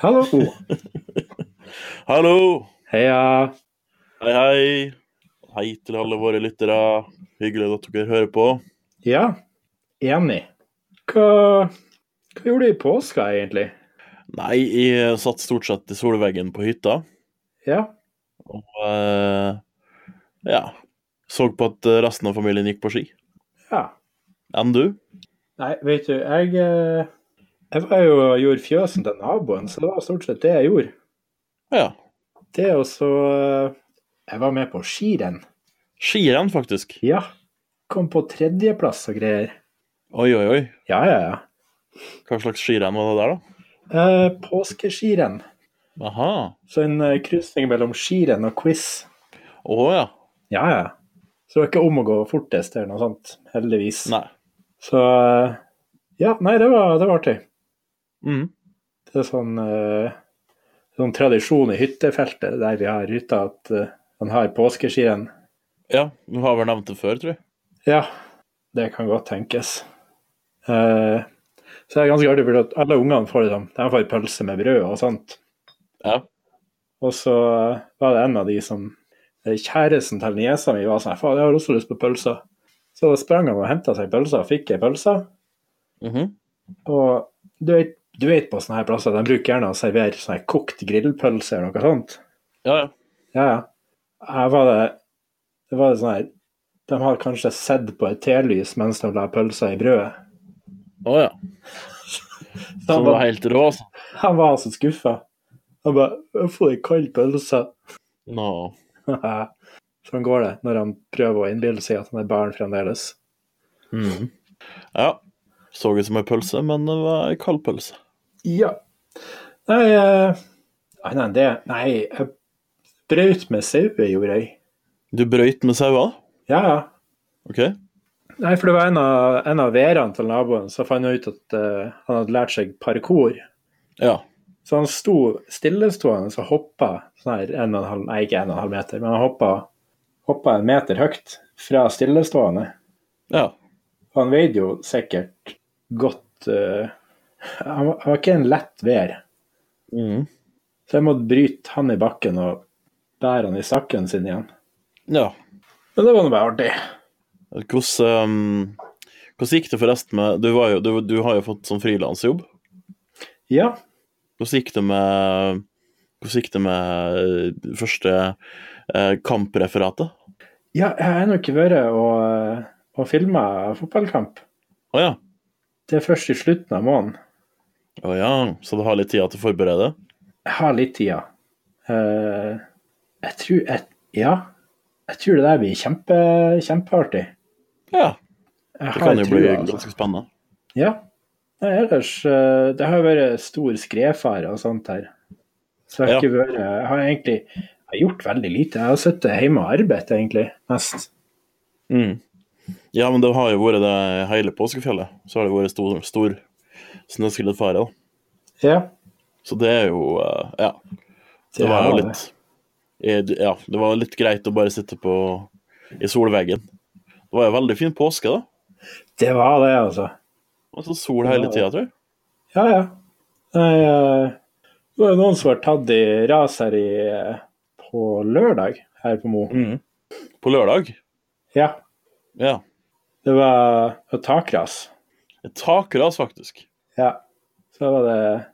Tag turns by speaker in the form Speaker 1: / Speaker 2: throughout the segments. Speaker 1: Hallo.
Speaker 2: Hallo!
Speaker 1: Heia.
Speaker 2: Hei, hei. Hei til alle våre lyttere. Hyggelig at dere hører på.
Speaker 1: Ja, enig. Hva, hva gjorde du i påska, egentlig?
Speaker 2: Nei, jeg satt stort sett i solveggen på hytta.
Speaker 1: Ja,
Speaker 2: Og eh, ja. Så på at resten av familien gikk på ski.
Speaker 1: ja.
Speaker 2: Enn du?
Speaker 1: Nei, vet du, jeg, eh, jeg var jo og gjorde fjøsen til naboen, så det var stort sett det jeg gjorde.
Speaker 2: Ja.
Speaker 1: Det og så eh, Jeg var med på skirenn.
Speaker 2: Skirenn, faktisk.
Speaker 1: Ja. Kom på tredjeplass og greier.
Speaker 2: Oi, oi, oi.
Speaker 1: Ja, ja, ja.
Speaker 2: Hva slags skirenn var det der, da?
Speaker 1: Eh, påskeskirenn.
Speaker 2: Aha.
Speaker 1: Så en eh, krysning mellom skirenn og quiz.
Speaker 2: Å ja.
Speaker 1: Ja, ja. Så det var ikke om å gå fortest eller noe sånt, heldigvis.
Speaker 2: Nei.
Speaker 1: Så eh, Ja, nei, det var, det var artig.
Speaker 2: Mm.
Speaker 1: Det er sånn, eh, sånn tradisjon i hyttefeltet der vi har hytta, at eh, man har påskeskirenn.
Speaker 2: Ja, du har vel nevnt det før, tror jeg.
Speaker 1: Ja, det kan godt tenkes. Eh, så det er ganske artig, for at alle ungene får, liksom, de får pølse med brød og sånt.
Speaker 2: Ja.
Speaker 1: Og så eh, var det en av de som eh, Kjæresten til niesa mi var sånn Faen, jeg har også lyst på pølser. Så sprang han og henta seg pølser og fikk ei pølse.
Speaker 2: Mhm.
Speaker 1: Og du vet, du vet på sånne her plasser, de bruker gjerne å servere sånn her kokt grillpølse eller noe sånt.
Speaker 2: Ja, ja.
Speaker 1: Ja, ja. Her var det Det var sånn her De har kanskje sett på et telys mens de la pølser i brødet.
Speaker 2: Å ja.
Speaker 1: Så
Speaker 2: Så
Speaker 1: han
Speaker 2: du var
Speaker 1: var,
Speaker 2: helt rå, altså.
Speaker 1: han var så skuffa. Han bare 'Jeg får ei kald pølse'.
Speaker 2: Nå.
Speaker 1: sånn går det når han prøver å innbille seg at han er barn fremdeles.
Speaker 2: Mhm. Ja. Så ut som ei pølse, men det var ei kald pølse.
Speaker 1: Ja. Nei, eh, nei, nei, det Nei, jeg brøt med sauer, gjorde jeg.
Speaker 2: Du brøyt med sauer?
Speaker 1: Ja, ja.
Speaker 2: OK.
Speaker 1: Nei, for det var en av, en av værene til naboen som fant ut at eh, han hadde lært seg parkour.
Speaker 2: Ja.
Speaker 1: Så han sto stillestående og hoppa sånn her en og en halv, nei, ikke en og en halv meter, men han hoppa, hoppa en meter høyt fra stillestående.
Speaker 2: Ja.
Speaker 1: Og han veide jo sikkert godt eh, han, var, han var ikke en lett vær,
Speaker 2: Mhm.
Speaker 1: så jeg måtte bryte han i bakken og bære han i sakken sin igjen.
Speaker 2: Ja.
Speaker 1: Men det var nå bare artig.
Speaker 2: Hvordan, ehm, hvordan gikk det forresten med Du, var jo, du, du har jo fått sånn frilansjobb.
Speaker 1: Ja.
Speaker 2: Hvordan gikk det med Hvordan gikk det med eh, første eh, kampreferatet?
Speaker 1: ja, jeg har ennå ikke vært og, eh, og filma fotballkamp.
Speaker 2: Å ja.
Speaker 1: Det er først i slutten av måneden.
Speaker 2: Å ja. Så du har litt tid til å forberede?
Speaker 1: Jeg har litt tid, ja. Eh, jeg tror jeg, Ja. Jeg tror det der blir kjempe, kjempeartig.
Speaker 2: Ja.
Speaker 1: Jeg altså.
Speaker 2: Det kan jo bli
Speaker 1: trua,
Speaker 2: ganske spennende.
Speaker 1: Ja. Nei, ellers eh, Det har jo vært stor skredfare og sånt her. Så jeg har,
Speaker 2: Ja.
Speaker 1: ikke vært, jeg har egentlig jeg har gjort veldig lite. Jeg har sittet hjemme og arbeidet, egentlig, mest.
Speaker 2: Mm. Ja, men det har jo vært det hele påskefjellet. Så har det vært stor, stor snøskredfare. da.
Speaker 1: Ja.
Speaker 2: Så det er jo eh, Ja. Det var jo litt eh, Ja, det var litt greit å bare sitte på i solveggen. Det var jo veldig fin påske, da.
Speaker 1: Det var det, altså.
Speaker 2: Altså sol hele
Speaker 1: Ja.
Speaker 2: tida, tror jeg.
Speaker 1: Ja, ja. Nei, eh, det var jo noen som var tatt i ras her i, eh, på lørdag her på Mo.
Speaker 2: På lørdag.
Speaker 1: Ja.
Speaker 2: Ja.
Speaker 1: Det var på takras.
Speaker 2: Et takras, faktisk.
Speaker 1: Ja. Så var det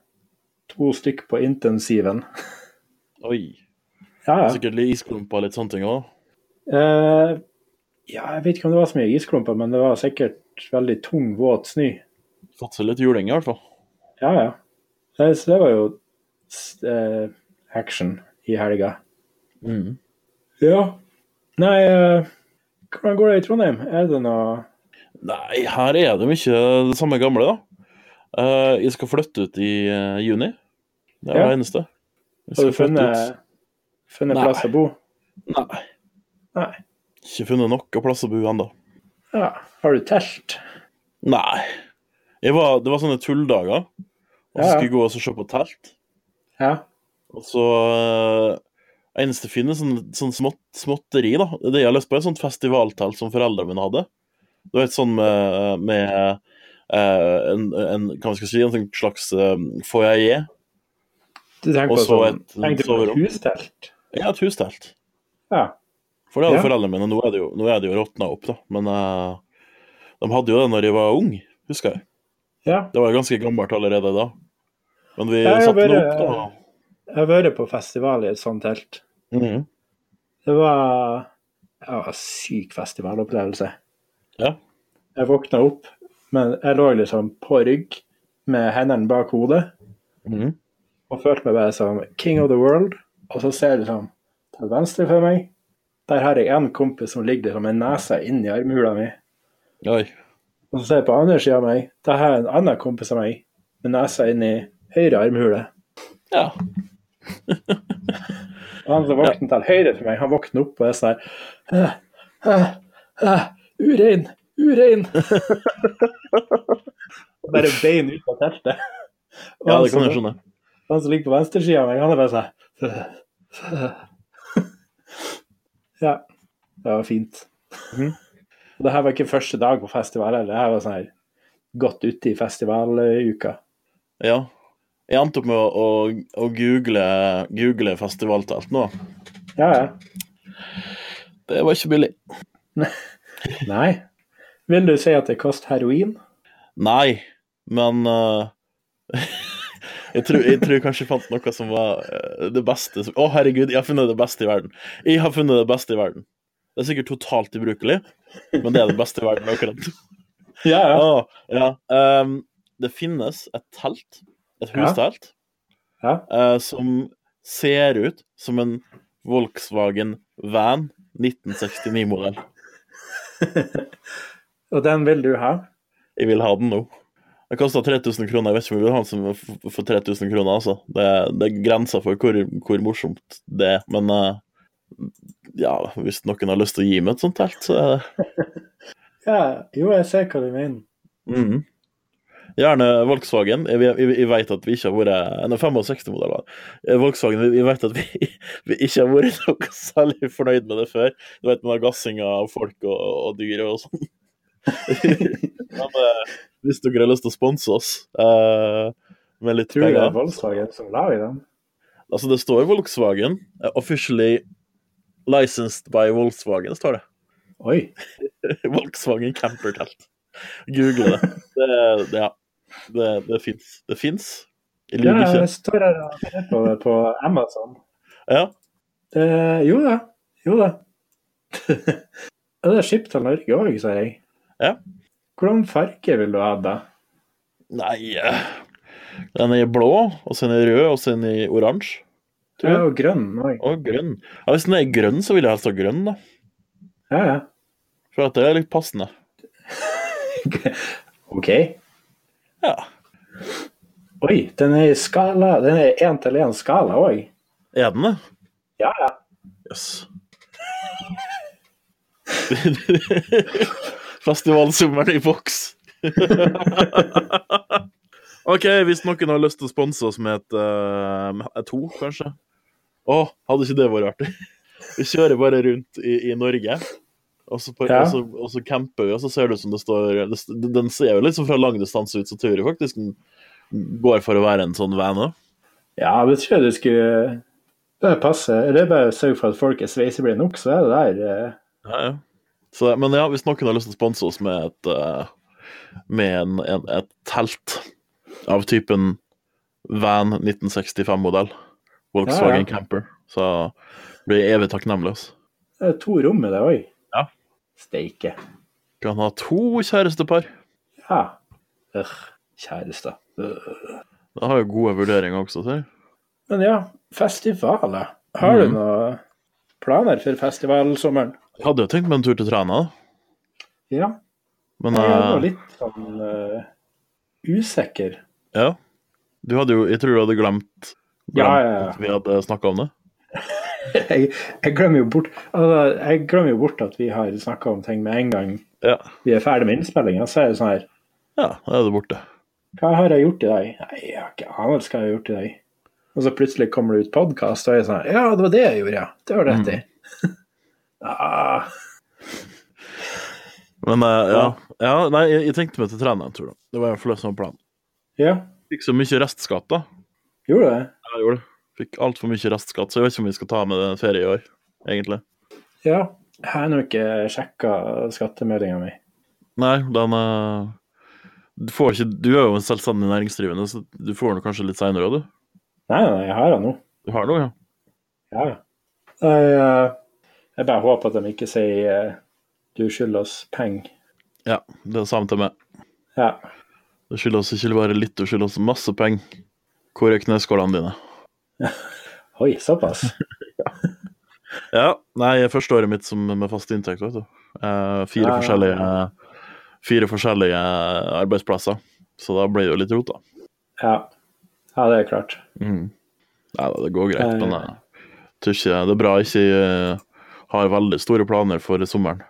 Speaker 1: to stykk på intensiven.
Speaker 2: Oi.
Speaker 1: Ja, ja.
Speaker 2: Sikkert litt isklumper og litt sånne ting òg.
Speaker 1: Eh, ja, jeg vet ikke om det var så mye isklumper, men det var sikkert veldig tung, våt snø.
Speaker 2: Satser litt juling, i hvert fall.
Speaker 1: Ja, ja. Eh, Så det var jo s- eh, action i helga.
Speaker 2: Mm.
Speaker 1: Ja. Nei, eh, hvordan går det i Trondheim? Er det noe
Speaker 2: Nei, her er de ikke det samme gamle, da. Eh, jeg skal flytte ut i eh, juni. Det er
Speaker 1: Ja.
Speaker 2: det eneste. Jeg
Speaker 1: Har du
Speaker 2: skal flytte
Speaker 1: funnet, funnet
Speaker 2: Nei.
Speaker 1: plass å bo?
Speaker 2: ut. Nei.
Speaker 1: Nei.
Speaker 2: Ikke funnet noe plass å bo ennå.
Speaker 1: Ja. Har du telt?
Speaker 2: Nei. Jeg var, det var sånne tulldager. Og
Speaker 1: Ja,
Speaker 2: så
Speaker 1: ja.
Speaker 2: skulle jeg gå og så se på telt.
Speaker 1: Ja.
Speaker 2: Og så øh, eneste fine sånn, sånn smått, småtteri, da. Det jeg har lyst på, er et sånt festivaltelt som foreldrene mine hadde. Det var et sånn med, med eh, en, en, hva skal jeg si, en sånn slags um, foajé.
Speaker 1: Du tenker
Speaker 2: Og
Speaker 1: på,
Speaker 2: så
Speaker 1: sånn,
Speaker 2: et
Speaker 1: tenker du på
Speaker 2: soverom.
Speaker 1: hustelt?
Speaker 2: Ja, et hustelt.
Speaker 1: Ja.
Speaker 2: For det hadde
Speaker 1: Ja.
Speaker 2: foreldrene mine. Nå er det jo, nå er det jo råtna opp, da. Men eh, de hadde jo det når jeg var ung, husker jeg.
Speaker 1: ja.
Speaker 2: Det var ganske gammelt allerede da. Men vi
Speaker 1: Ja, jeg
Speaker 2: satte nå
Speaker 1: bare-
Speaker 2: opp, da.
Speaker 1: Jeg har vært på festival i et sånt telt.
Speaker 2: Mhm.
Speaker 1: Det var det var en syk festivalopplevelse.
Speaker 2: Ja.
Speaker 1: Jeg våkna opp, men jeg lå liksom på rygg med hendene bak hodet
Speaker 2: Mhm.
Speaker 1: og følte meg bare som king of the world. Og så ser jeg liksom til venstre for meg. Der har jeg en kompis som ligger liksom med nesa inni armhula mi.
Speaker 2: Oi.
Speaker 1: Og så ser jeg på andre sida av meg, der har jeg en annen kompis av meg med nesa inni høyre armhule.
Speaker 2: Ja.
Speaker 1: Og han som våkner til høyre for meg, han våkner opp og er sånn her «Æ, æ, æ, Urein! Urein! Og bare bein ut av teltet. Og
Speaker 2: ja,
Speaker 1: han
Speaker 2: det kan
Speaker 1: som-
Speaker 2: jeg skjønne.
Speaker 1: Han som ligger på venstresida av meg, han er bare sånn her, «Æ, æ». Ja. Det var fint.
Speaker 2: Mhm.
Speaker 1: Og det her var ikke første dag på festival heller. Det her var sånn her godt ute i festivaluka.
Speaker 2: Ja. Jeg endte opp med å, å, å google, google festivaltelt nå.
Speaker 1: Ja, ja.
Speaker 2: Det var ikke billig.
Speaker 1: Nei. Vil du si at det koster heroin?
Speaker 2: Nei, men eh, jeg, tror, jeg tror kanskje jeg fant noe som var eh, det beste som- Å, herregud, jeg har funnet det beste i verden. Jeg har funnet det beste i verden. Det er sikkert totalt ubrukelig, men det er det beste i verden akkurat.
Speaker 1: Ja, ja.
Speaker 2: Å, ja. ehm, det finnes et telt, et
Speaker 1: Ja.
Speaker 2: hustelt,
Speaker 1: Ja.
Speaker 2: eh, som ser ut som en Volkswagen Van 1969-modell.
Speaker 1: Og den vil du ha?
Speaker 2: Jeg vil ha den nå. Det kosta 3000 kroner. Jeg vet ikke om jeg vil ha den som f- for 3000 kroner, altså. Det, det er grenser for hvor, hvor morsomt det er. Men eh, ja, hvis noen har lyst til å gi meg et sånt telt, så er det
Speaker 1: Ja, jo, jeg ser hva du mener.
Speaker 2: Mhm. Gjerne Volkswagen. Jeg, jeg, jeg vet at vi ikke har vært Nei, 65-modeller. Eh, Volkswagen, jeg vet at vi, vi ikke har vært noe særlig fornøyd med det før. Du vet, med den gassinga av folk og, og dyr og sånn. Men eh, hvis dere har lyst til å sponse oss eh, med litt
Speaker 1: Tror du det er
Speaker 2: penger
Speaker 1: Volkswagen som lager den?
Speaker 2: Altså, det står Volkswagen. eh, Officially licensed by Volkswagen, står det.
Speaker 1: Oi.
Speaker 2: Volkswagen campertelt. Google det. Det, det, ja. det, det fins. Det fins. Jeg
Speaker 1: Ja,
Speaker 2: lyver
Speaker 1: jeg
Speaker 2: ikke.
Speaker 1: står her og ser på det på Amazon.
Speaker 2: Ja.
Speaker 1: Det, jo da. Jo da. Og det er skipt til Norge òg, ser jeg.
Speaker 2: Ja.
Speaker 1: Hvordan farge vil du ha da?
Speaker 2: Nei eh, Den er i blå, og så er den i rød, og så er den i oransje. Tror jeg.
Speaker 1: Ja, og grønn òg.
Speaker 2: Og grønn. Ja, hvis den er i grønn, så vil jeg helst ha grønn, da.
Speaker 1: Ja, ja.
Speaker 2: For at det er litt passende.
Speaker 1: OK.
Speaker 2: Ja.
Speaker 1: Oi, den er i skala. Den er én til én skala òg.
Speaker 2: Er den det?
Speaker 1: Ja, ja.
Speaker 2: Jøss. Festivalsummeren i boks. OK, hvis noen har lyst til å sponse oss med et, eh, med et to, kanskje. Å, hadde ikke det vært artig? Vi kjører bare rundt i, i Norge, og så, på,
Speaker 1: Ja.
Speaker 2: og, så, og så camper vi, og så ser det ut som det står det, st- Den ser jo litt sånn fra lang distanse ut, så tror jeg faktisk den går for å være en sånn van òg.
Speaker 1: Ja, det tror jeg du skulle bare passe. Eller bare sørge for at folk er sveiseblide nok, så er det der eh,
Speaker 2: Ja, ja. Så, men ja, hvis noen har lyst til å sponse oss med et, eh, med en, en, et telt av typen Van 1965-modell,
Speaker 1: Ja,
Speaker 2: Volkswagen
Speaker 1: ja.
Speaker 2: Camper, så blir jeg evig takknemlig. ass.
Speaker 1: Det er to rom i det òg.
Speaker 2: Ja.
Speaker 1: Steike.
Speaker 2: Kan ha to kjærestepar.
Speaker 1: Ja. Øh, kjæreste. Øh.
Speaker 2: Det har jo gode vurderinger også, ser jeg.
Speaker 1: Men ja, festivaler. Har du
Speaker 2: Mhm.
Speaker 1: noen planer for festivalsommeren?
Speaker 2: Jeg hadde jo tenkt meg en tur til Træna, da,
Speaker 1: Ja,
Speaker 2: men
Speaker 1: jeg er nå
Speaker 2: eh,
Speaker 1: litt sånn øh, usikker.
Speaker 2: ja. Du hadde jo Jeg tror du hadde glemt, glemt
Speaker 1: Ja, ja, ja.
Speaker 2: at vi hadde snakka om det.
Speaker 1: Jeg, jeg, glemmer jo bort, altså, jeg glemmer jo bort at vi har snakka om ting med en gang
Speaker 2: Ja.
Speaker 1: vi er ferdig med innspillinga. Så er det sånn her
Speaker 2: ja da er det borte.
Speaker 1: Hva har jeg gjort i dag? Nei, jeg har ikke anelse hva jeg har gjort i dag. Og så plutselig kommer det ut podkast, og jeg er sånn Ja, det var det jeg gjorde, ja. Det var det rett i. ah,
Speaker 2: Men eh, ja. ja. Nei, jeg, jeg tenkte meg til Træna en tur, da. Det var iallfall det som var planen.
Speaker 1: ja,
Speaker 2: Fikk så mye restskatt, da.
Speaker 1: gjorde du det?
Speaker 2: Ja, jeg gjorde det. Fikk altfor mye restskatt, så jeg vet ikke om vi skal ta med en ferie i år, egentlig.
Speaker 1: Ja, jeg har nå ikke sjekka skattemeldinga mi.
Speaker 2: Nei, den eh, du, får ikke, du er jo en selvstendig næringsdrivende, så du får den kanskje litt seinere òg, du.
Speaker 1: Nei, nei, jeg har den nå.
Speaker 2: Du har noe, ja.
Speaker 1: Ja, ja. Jeg, eh, jeg bare håper at de ikke sier eh, 'du skylder oss penger'.
Speaker 2: Ja, det er samme til meg.
Speaker 1: Ja.
Speaker 2: Du skylder oss ikke bare litt, du skylder oss masse penger. Hvor er kneskålene dine?
Speaker 1: Oi, såpass.
Speaker 2: Ja, nei, første året mitt som med fast inntekt, vet du. Eh,
Speaker 1: Ja, ja,
Speaker 2: fire,
Speaker 1: ja.
Speaker 2: forskjellige, fire forskjellige arbeidsplasser, så da blir det jo litt rot, da.
Speaker 1: Ja. ja, det er klart.
Speaker 2: Mm. Nei da, det går greit,
Speaker 1: Nei.
Speaker 2: men jeg tror ikke det er bra jeg ikke eh, har veldig store planer for sommeren.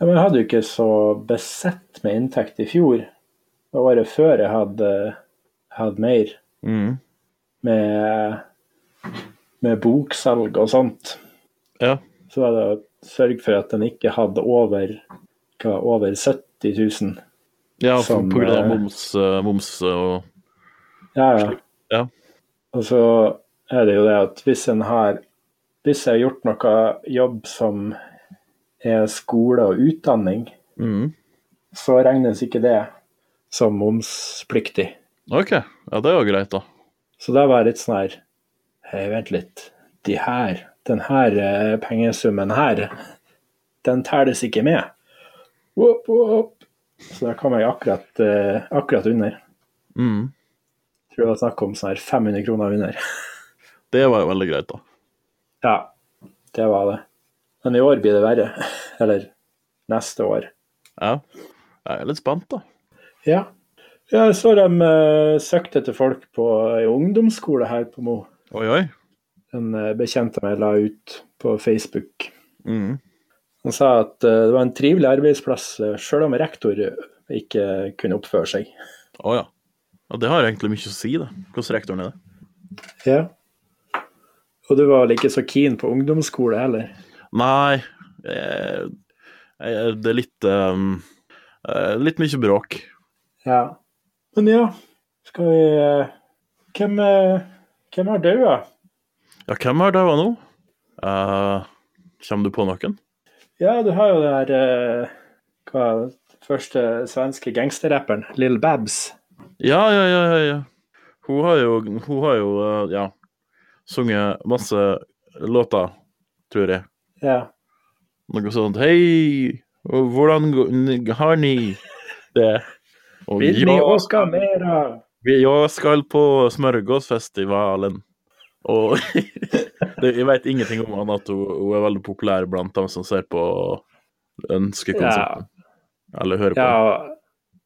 Speaker 1: Ja, men jeg hadde jo ikke så besett med inntekt i fjor. Det var året før jeg hadde, hadde mer
Speaker 2: Mm.
Speaker 1: med, med boksalg og sånt.
Speaker 2: Ja.
Speaker 1: Så var det å sørge for at den ikke hadde over, hva, over 70 000.
Speaker 2: Ja, for-
Speaker 1: Som,
Speaker 2: på grunn av
Speaker 1: eh,
Speaker 2: moms, eh, moms og
Speaker 1: Ja, ja.
Speaker 2: Ja.
Speaker 1: Og så er det jo det at hvis en har Hvis jeg har gjort noe jobb som er skole og utdanning,
Speaker 2: mm.
Speaker 1: så regnes ikke det som momspliktig.
Speaker 2: OK. Ja, det er jo greit, da.
Speaker 1: Så da var jeg litt sånn her Hei, vent litt. De her, den her eh, pengesummen her, den telles ikke med. Whoop, whoop. Så da kom jeg akkurat, eh, akkurat under.
Speaker 2: Mm.
Speaker 1: Tror det var snakk om sånn her 500 kroner under.
Speaker 2: Det var jo veldig greit, da.
Speaker 1: Ja, det var det. Men i år blir det verre. Eller neste år.
Speaker 2: Ja. Jeg er litt spent, da.
Speaker 1: Ja. Ja, Jeg så de eh, søkte etter folk på ei ungdomsskole her på Mo.
Speaker 2: Oi, oi.
Speaker 1: En eh, bekjent av meg la ut på Facebook.
Speaker 2: Mm.
Speaker 1: Han sa at eh, det var en trivelig arbeidsplass, eh, selv om rektor ikke kunne oppføre seg.
Speaker 2: Å ja. ja. Det har egentlig mye å si, da. Hvordan rektoren er det?
Speaker 1: Ja. Og du var vel ikke så keen på ungdomsskole heller?
Speaker 2: Nei, eh, eh, det er litt eh, eh, Litt mye bråk.
Speaker 1: Ja. Men ja, skal vi eh, Hvem, eh, hvem har daua?
Speaker 2: Ja, hvem har daua nå? Eh, kommer du på noen?
Speaker 1: Ja, du har jo det her eh, Hva første svenske gangsterrapperen, Lill Babs.
Speaker 2: Ja, ja, ja, ja. ja. Hun har jo, hun har jo eh, ja, sunget masse låter, tror jeg.
Speaker 1: Ja.
Speaker 2: Noe sånt Hei, og hvordan går- n- har ni det? Og
Speaker 1: Vil ni
Speaker 2: «Ja,
Speaker 1: åka mera?
Speaker 2: vi- jeg skal på smørgåsfestivalen. Og det, jeg veit ingenting om annet at hun, hun er veldig populær blant dem som ser på ønskekonserten. Eller hører på.
Speaker 1: Ja,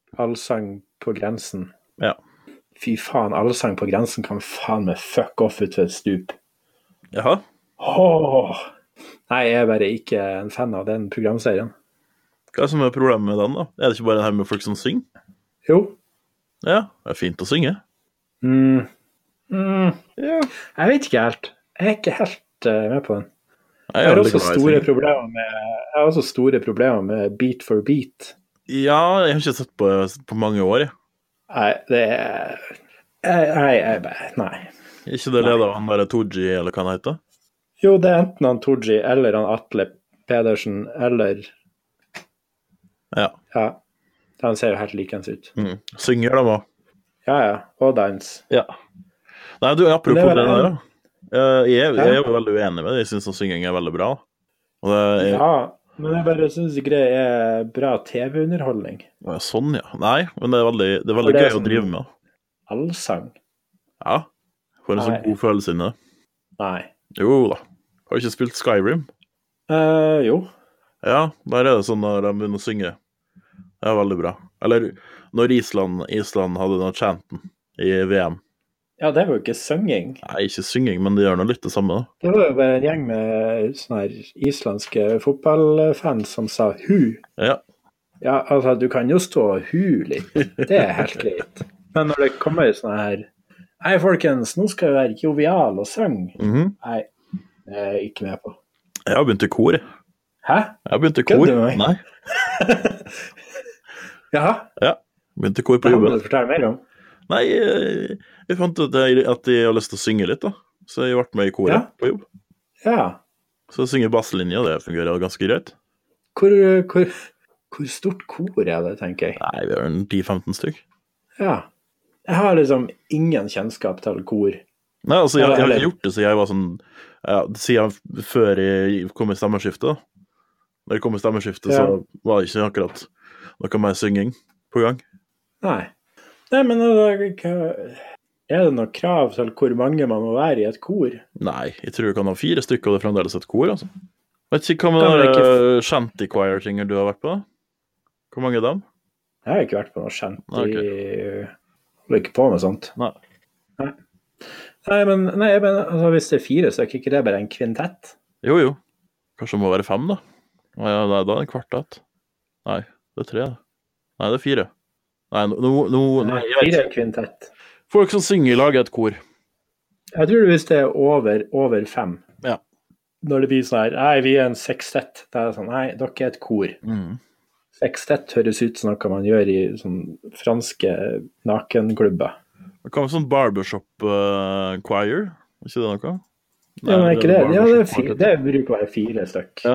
Speaker 2: Ja.
Speaker 1: allsang på grensen.
Speaker 2: Ja.
Speaker 1: Fy faen, allsang på grensen kan faen meg fuck off ut ved et stup.
Speaker 2: Jaha?
Speaker 1: Åh. Nei, jeg er bare ikke en fan av den programserien.
Speaker 2: Hva er det som er problemet med den, da? Er det ikke bare det her med folk som synger?
Speaker 1: Jo.
Speaker 2: Ja, det er fint å synge.
Speaker 1: Mm. Mm.
Speaker 2: Ja.
Speaker 1: Jeg vet ikke helt. Jeg er ikke helt eh, med på den.
Speaker 2: Jeg
Speaker 1: Jeg
Speaker 2: er
Speaker 1: har
Speaker 2: veldig
Speaker 1: også
Speaker 2: glad i
Speaker 1: store
Speaker 2: synging.
Speaker 1: problemer med, jeg har også store problemer med Beat for beat.
Speaker 2: Ja, jeg har ikke sett på, på mange år, jeg.
Speaker 1: Nei, det er Nei, nei, jeg bare- nei.
Speaker 2: Er ikke det leder av han derre Tooji, eller hva han heter?
Speaker 1: Jo, det er enten han Tooji eller han Atle Pedersen eller
Speaker 2: Ja.
Speaker 1: Ja. Han ser jo helt likens ut.
Speaker 2: Mm. Synger de òg.
Speaker 1: Ja, ja. Og dans.
Speaker 2: Ja. Nei, du, apropos
Speaker 1: Men
Speaker 2: det,
Speaker 1: det er vel-
Speaker 2: der, da. Eh, Jeg, jeg
Speaker 1: Ja.
Speaker 2: er jo veldig uenig med det. Jeg syns synging er veldig bra. Og det er,
Speaker 1: Ja, men jeg bare syns ikke det er bra TV-underholdning.
Speaker 2: Å, Sånn, ja. Nei, men det er veldig, det er
Speaker 1: Og
Speaker 2: veldig
Speaker 1: det er
Speaker 2: gøy
Speaker 1: sånn-
Speaker 2: å drive med.
Speaker 1: Allsang?
Speaker 2: Ja. Får en sånn
Speaker 1: Nei.
Speaker 2: god følelse inni det.
Speaker 1: Nei.
Speaker 2: Jo da. Har du ikke spilt Skyrim?
Speaker 1: eh, jo.
Speaker 2: Ja, der er det sånn når de begynner å synge. Det er veldig bra. Eller når Island, Island hadde den chanten i VM.
Speaker 1: Ja, det var jo ikke synging.
Speaker 2: Nei, ikke synging, men de gjør nå litt det samme, da.
Speaker 1: Det var jo bare en gjeng med sånne her islandske fotballfans som sa hu.
Speaker 2: Ja.
Speaker 1: Ja, altså, du kan jo stå og hu litt. Det er helt greit. Men når det kommer sånne her Hei, folkens, nå skal vi være jovial og synge.
Speaker 2: Mhm.
Speaker 1: Nei, det er jeg ikke med på.
Speaker 2: Jeg har begynt i kor. jeg.
Speaker 1: Hæ?
Speaker 2: Jeg har begynt i
Speaker 1: Kødder
Speaker 2: kor.
Speaker 1: du med meg?
Speaker 2: Nei.
Speaker 1: Jaha?
Speaker 2: Begynte i kor på
Speaker 1: Det må
Speaker 2: jobben.
Speaker 1: du fortelle mer om.
Speaker 2: Nei, eh, jeg fant ut at jeg, at jeg har lyst til å synge litt, da. så jeg ble med i koret
Speaker 1: Ja.
Speaker 2: på jobb.
Speaker 1: Ja.
Speaker 2: Så jeg synger basslinja, det fungerer ganske greit.
Speaker 1: Hvor, hvor, hvor stort kor er det, tenker jeg.
Speaker 2: Nei, vi har en 10-15 stykk.
Speaker 1: Ja. Jeg har liksom ingen kjennskap til kor.
Speaker 2: Nei, altså, jeg, jeg har
Speaker 1: Eller-
Speaker 2: ikke gjort det siden jeg var sånn ja, Siden f- før jeg kom i stemmeskiftet. da. Da jeg kom i stemmeskiftet,
Speaker 1: Ja.
Speaker 2: så var det ikke akkurat noe mer synging på gang.
Speaker 1: Nei. Nei, men altså, hva- er det noe krav til hvor mange man må være i et kor?
Speaker 2: Nei, jeg tror du kan ha fire stykker, og det er fremdeles et kor, altså. Vet ikke hva
Speaker 1: Kan
Speaker 2: med
Speaker 1: man
Speaker 2: den
Speaker 1: ikke-
Speaker 2: eh, shanty choir-tingen du har vært på? da? Hvor mange av dem?
Speaker 1: Jeg har ikke vært på noe kjent
Speaker 2: Nei, ok.
Speaker 1: i Holder ikke på med sånt.
Speaker 2: Nei.
Speaker 1: Nei, nei men, nei, men altså, hvis det er fire, så er ikke det bare en kvintett?
Speaker 2: Jo, jo. Kanskje det må være fem, da. Å Ja, nei, da er det en kvartett. Nei, det er tre, da. Nei, det er fire. Nei, nå no, nei, jeg vet
Speaker 1: Fire
Speaker 2: ikke.
Speaker 1: er kvintett.
Speaker 2: Folk som synger, lager et kor.
Speaker 1: Jeg tror hvis det er over, over fem
Speaker 2: Ja.
Speaker 1: Når det blir sånn her Nei, vi er en sekstett. Da er det sånn Nei, dere er et kor. Sekstett høres ut som noe man gjør i sånn franske nakenklubber.
Speaker 2: Hva med sånn barbershop eh, choir? Er ikke det noe?
Speaker 1: Ja, men er ikke det? Ja, det, er fire,
Speaker 2: barbershop
Speaker 1: det bruker å være fire stykk.
Speaker 2: Ja.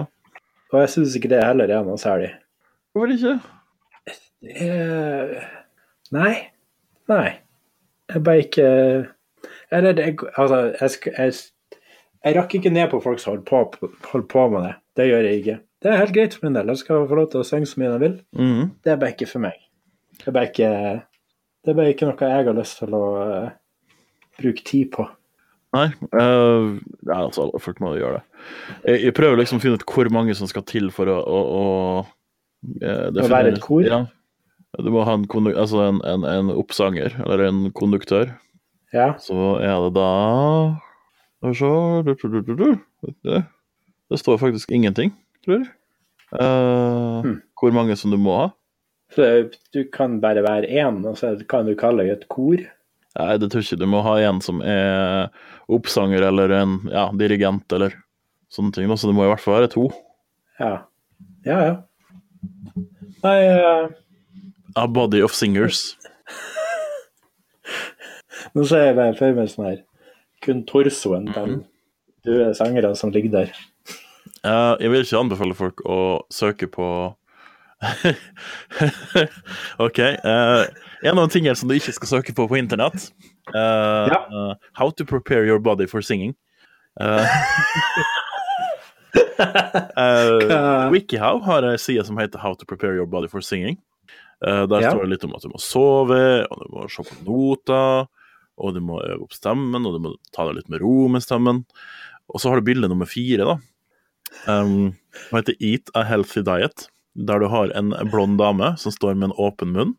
Speaker 1: Og jeg syns ikke det heller er noe særlig.
Speaker 2: market. Hvorfor ikke?
Speaker 1: Eh, nei. Nei. Jeg bare ikke Eller det Altså, jeg, sk- jeg, s- jeg rakk ikke ned på folk som holder på, holder på med det. Det gjør jeg ikke. Det er helt greit for min del. Jeg skal få lov til å synge så mye jeg vil.
Speaker 2: Mhm.
Speaker 1: Det er bare ikke for meg. Det er bare ikke, det er bare ikke noe jeg har lyst til å eh, bruke tid på.
Speaker 2: Nei, eh, nei, altså, alle folk må jo gjøre det. Jeg, jeg prøver liksom å finne ut hvor mange som skal til for å, å, å eh,
Speaker 1: være et
Speaker 2: definere-
Speaker 1: kor?
Speaker 2: Ja. Du må ha en, kondu- altså en, en, en oppsanger, eller en konduktør.
Speaker 1: Ja.
Speaker 2: Så er det da Skal vi se du, du, du, du, du. Det- Det står faktisk ingenting, tror jeg. Eh,
Speaker 1: Hmm.
Speaker 2: Hvor mange som du må ha.
Speaker 1: Så eh, du kan bare være én, og så kan du kalle deg et kor.
Speaker 2: Nei, det tror jeg ikke. Du må ha en som er oppsanger eller en ja, dirigent eller sånne ting. da, Så det må i hvert fall være to.
Speaker 1: Ja. Ja, ja. Nei, eh,
Speaker 2: A body of singers.
Speaker 1: nå ser jeg bare for meg sånn her Kun torsoen til
Speaker 2: Mhm.
Speaker 1: døde sangere som ligger der.
Speaker 2: Eh, jeg vil ikke anbefale folk å søke på OK. eh, en av de tingene som du ikke skal søke på på internett eh, eh, How to prepare your body for singing. Eh, eh, Wikihow har ei side som heter How to prepare your body for singing. Eh, der
Speaker 1: Ja.
Speaker 2: står det litt om at du må sove, og du må se på noter, og du må øve opp stemmen, og du må ta det litt med ro med stemmen. Og så har du bilde nummer fire, da. Um, Den heter Eat a Healthy Diet, der du har en blond dame som står med en åpen munn,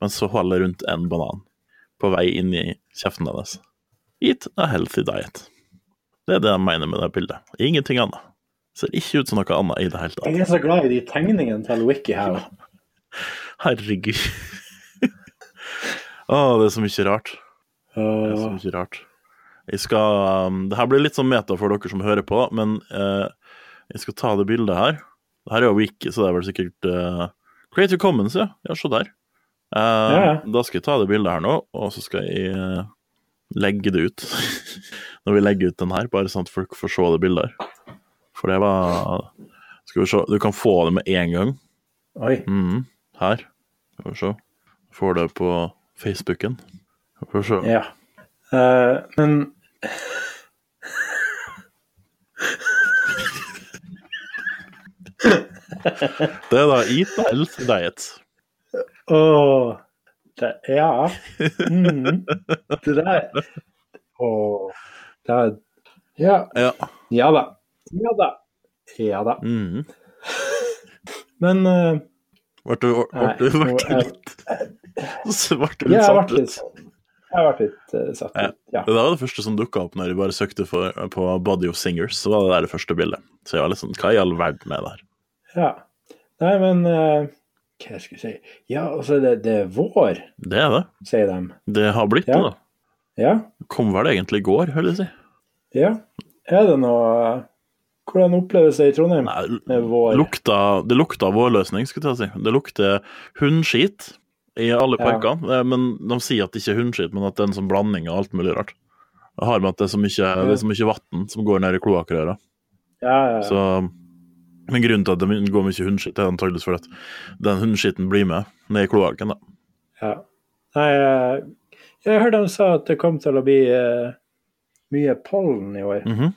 Speaker 2: men så holder rundt en banan på vei inn i kjeften hennes. Eat a healthy diet. Det er det jeg mener med det bildet. Ingenting annet. Ser ikke ut som noe annet i det hele tatt.
Speaker 1: Jeg er så glad i de tegningene til WikiHow.
Speaker 2: Herregud. Å, det er så mye rart. Det er så
Speaker 1: Uh,
Speaker 2: mye rart. Jeg skal, um, det her blir litt sånn meta for dere som hører på, men eh, jeg skal ta det bildet her. Det her er jo Wiki, så det er vel sikkert eh, Creative Commons, ja. Ja, se der. Eh,
Speaker 1: ja.
Speaker 2: Da skal jeg ta det bildet her nå, og så skal jeg eh, legge det ut. Når vi legger ut den her, bare sånn at folk får se det bildet her. For det var Skal vi se, du kan få det med en gang.
Speaker 1: oi.
Speaker 2: Mhm, her. Skal vi se. Får det på Facebooken. Skal vi se.
Speaker 1: Ja. Eh, men
Speaker 2: Det er da Eat a Healthy Diet.
Speaker 1: Å det, Ja. Mm, det der Å. Det er Ja.
Speaker 2: Ja.
Speaker 1: Ja da. Ja da. Ja da.
Speaker 2: Mhm.
Speaker 1: Men eh,
Speaker 2: Ble du, ble
Speaker 1: Nei,
Speaker 2: du, ble
Speaker 1: nå
Speaker 2: du
Speaker 1: er-
Speaker 2: litt Så ble du
Speaker 1: ja,
Speaker 2: litt
Speaker 1: jeg
Speaker 2: satt
Speaker 1: ble litt
Speaker 2: ut?
Speaker 1: Jeg har vært litt eh, satt ut, ja.
Speaker 2: Det var det første som dukka opp når jeg bare søkte for, på Body of Singers. Så var det der det første bildet. Så jeg var litt sånn Hva i all verden er det her?
Speaker 1: ja. Nei, men eh, Hva skal jeg si Ja, altså, det, det er vår,
Speaker 2: Det er det.
Speaker 1: sier de.
Speaker 2: Det har blitt
Speaker 1: Ja.
Speaker 2: det, da.
Speaker 1: Ja?
Speaker 2: Kom vel egentlig i går, hører jeg si.
Speaker 1: Ja. Er det noe Hvordan oppleves det i Trondheim
Speaker 2: Nei,
Speaker 1: med vår?
Speaker 2: lukta, det lukta vårløsning, skulle jeg til å si. Det lukter hundskit i alle
Speaker 1: Ja.
Speaker 2: parkene. eh, Men de sier at det ikke er hundskit, men at det er en sånn blanding av alt mulig rart. Det har med at det er så mye, det er så mye vann som går ned i kloakkrøra.
Speaker 1: Ja, ja, ja.
Speaker 2: Så men grunnen til at det går mye hundskitt, er antakeligvis fordi at den hundskitten blir med ned i kloakken. da.
Speaker 1: ja. Nei, jeg, jeg hørte de sa at det kom til å bli eh, mye pollen i år.
Speaker 2: Mhm.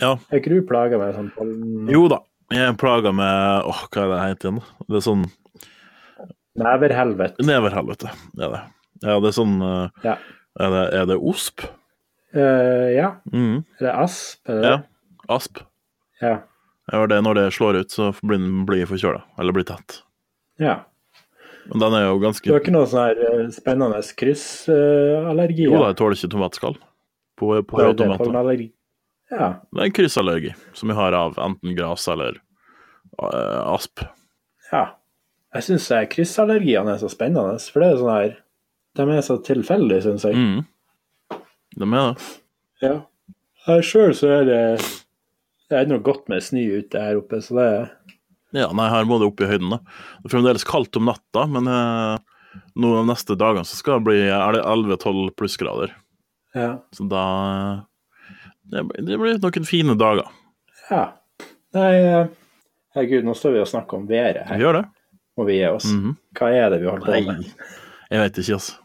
Speaker 2: Ja,
Speaker 1: Er ikke du plaga med sånn pollen?
Speaker 2: jo da. Jeg er plaga med åh, hva er det heter igjen? da? Det er sånn
Speaker 1: Neverhelvete.
Speaker 2: Neverhelvete, er det. Ja, det er sånn eh,
Speaker 1: Ja.
Speaker 2: Er det, er det osp?
Speaker 1: Eh, ja.
Speaker 2: Mhm.
Speaker 1: Er det asp? Er det?
Speaker 2: Ja. Asp.
Speaker 1: Ja.
Speaker 2: Ja, det er når det slår ut, så blir den blir forkjøla. Eller blir tett.
Speaker 1: ja.
Speaker 2: Men den er jo
Speaker 1: Du
Speaker 2: ganske
Speaker 1: har ikke noe sånn her eh, spennende kryssallergi?
Speaker 2: Jo da, jeg tåler ikke tomatskall på, på
Speaker 1: Bare det,
Speaker 2: tomater.
Speaker 1: pollenallergi. Ja.
Speaker 2: Det er en kryssallergi som vi har av enten gras eller eh, asp.
Speaker 1: ja. Jeg syns kryssallergiene er så spennende, for det er sånn her De er så tilfeldige, syns jeg.
Speaker 2: Mm. De er det.
Speaker 1: Ja. Her sjøl så er det Det er noe godt med snø ute her oppe, så det er
Speaker 2: Ja, nei, her må det opp i høyden, da. Det er fremdeles kaldt om natta, men eh, nå de neste dagene så skal det bli er det 11-12 plussgrader.
Speaker 1: Ja.
Speaker 2: Så da eh, det, blir- det blir noen fine dager.
Speaker 1: ja. Nei, eh, herregud, nå står vi og snakker om været
Speaker 2: Vi
Speaker 1: her,
Speaker 2: gjør det.
Speaker 1: og vi gir oss.
Speaker 2: Mhm.
Speaker 1: Hva er det vi holder på med?
Speaker 2: Nei, jeg vet ikke, altså.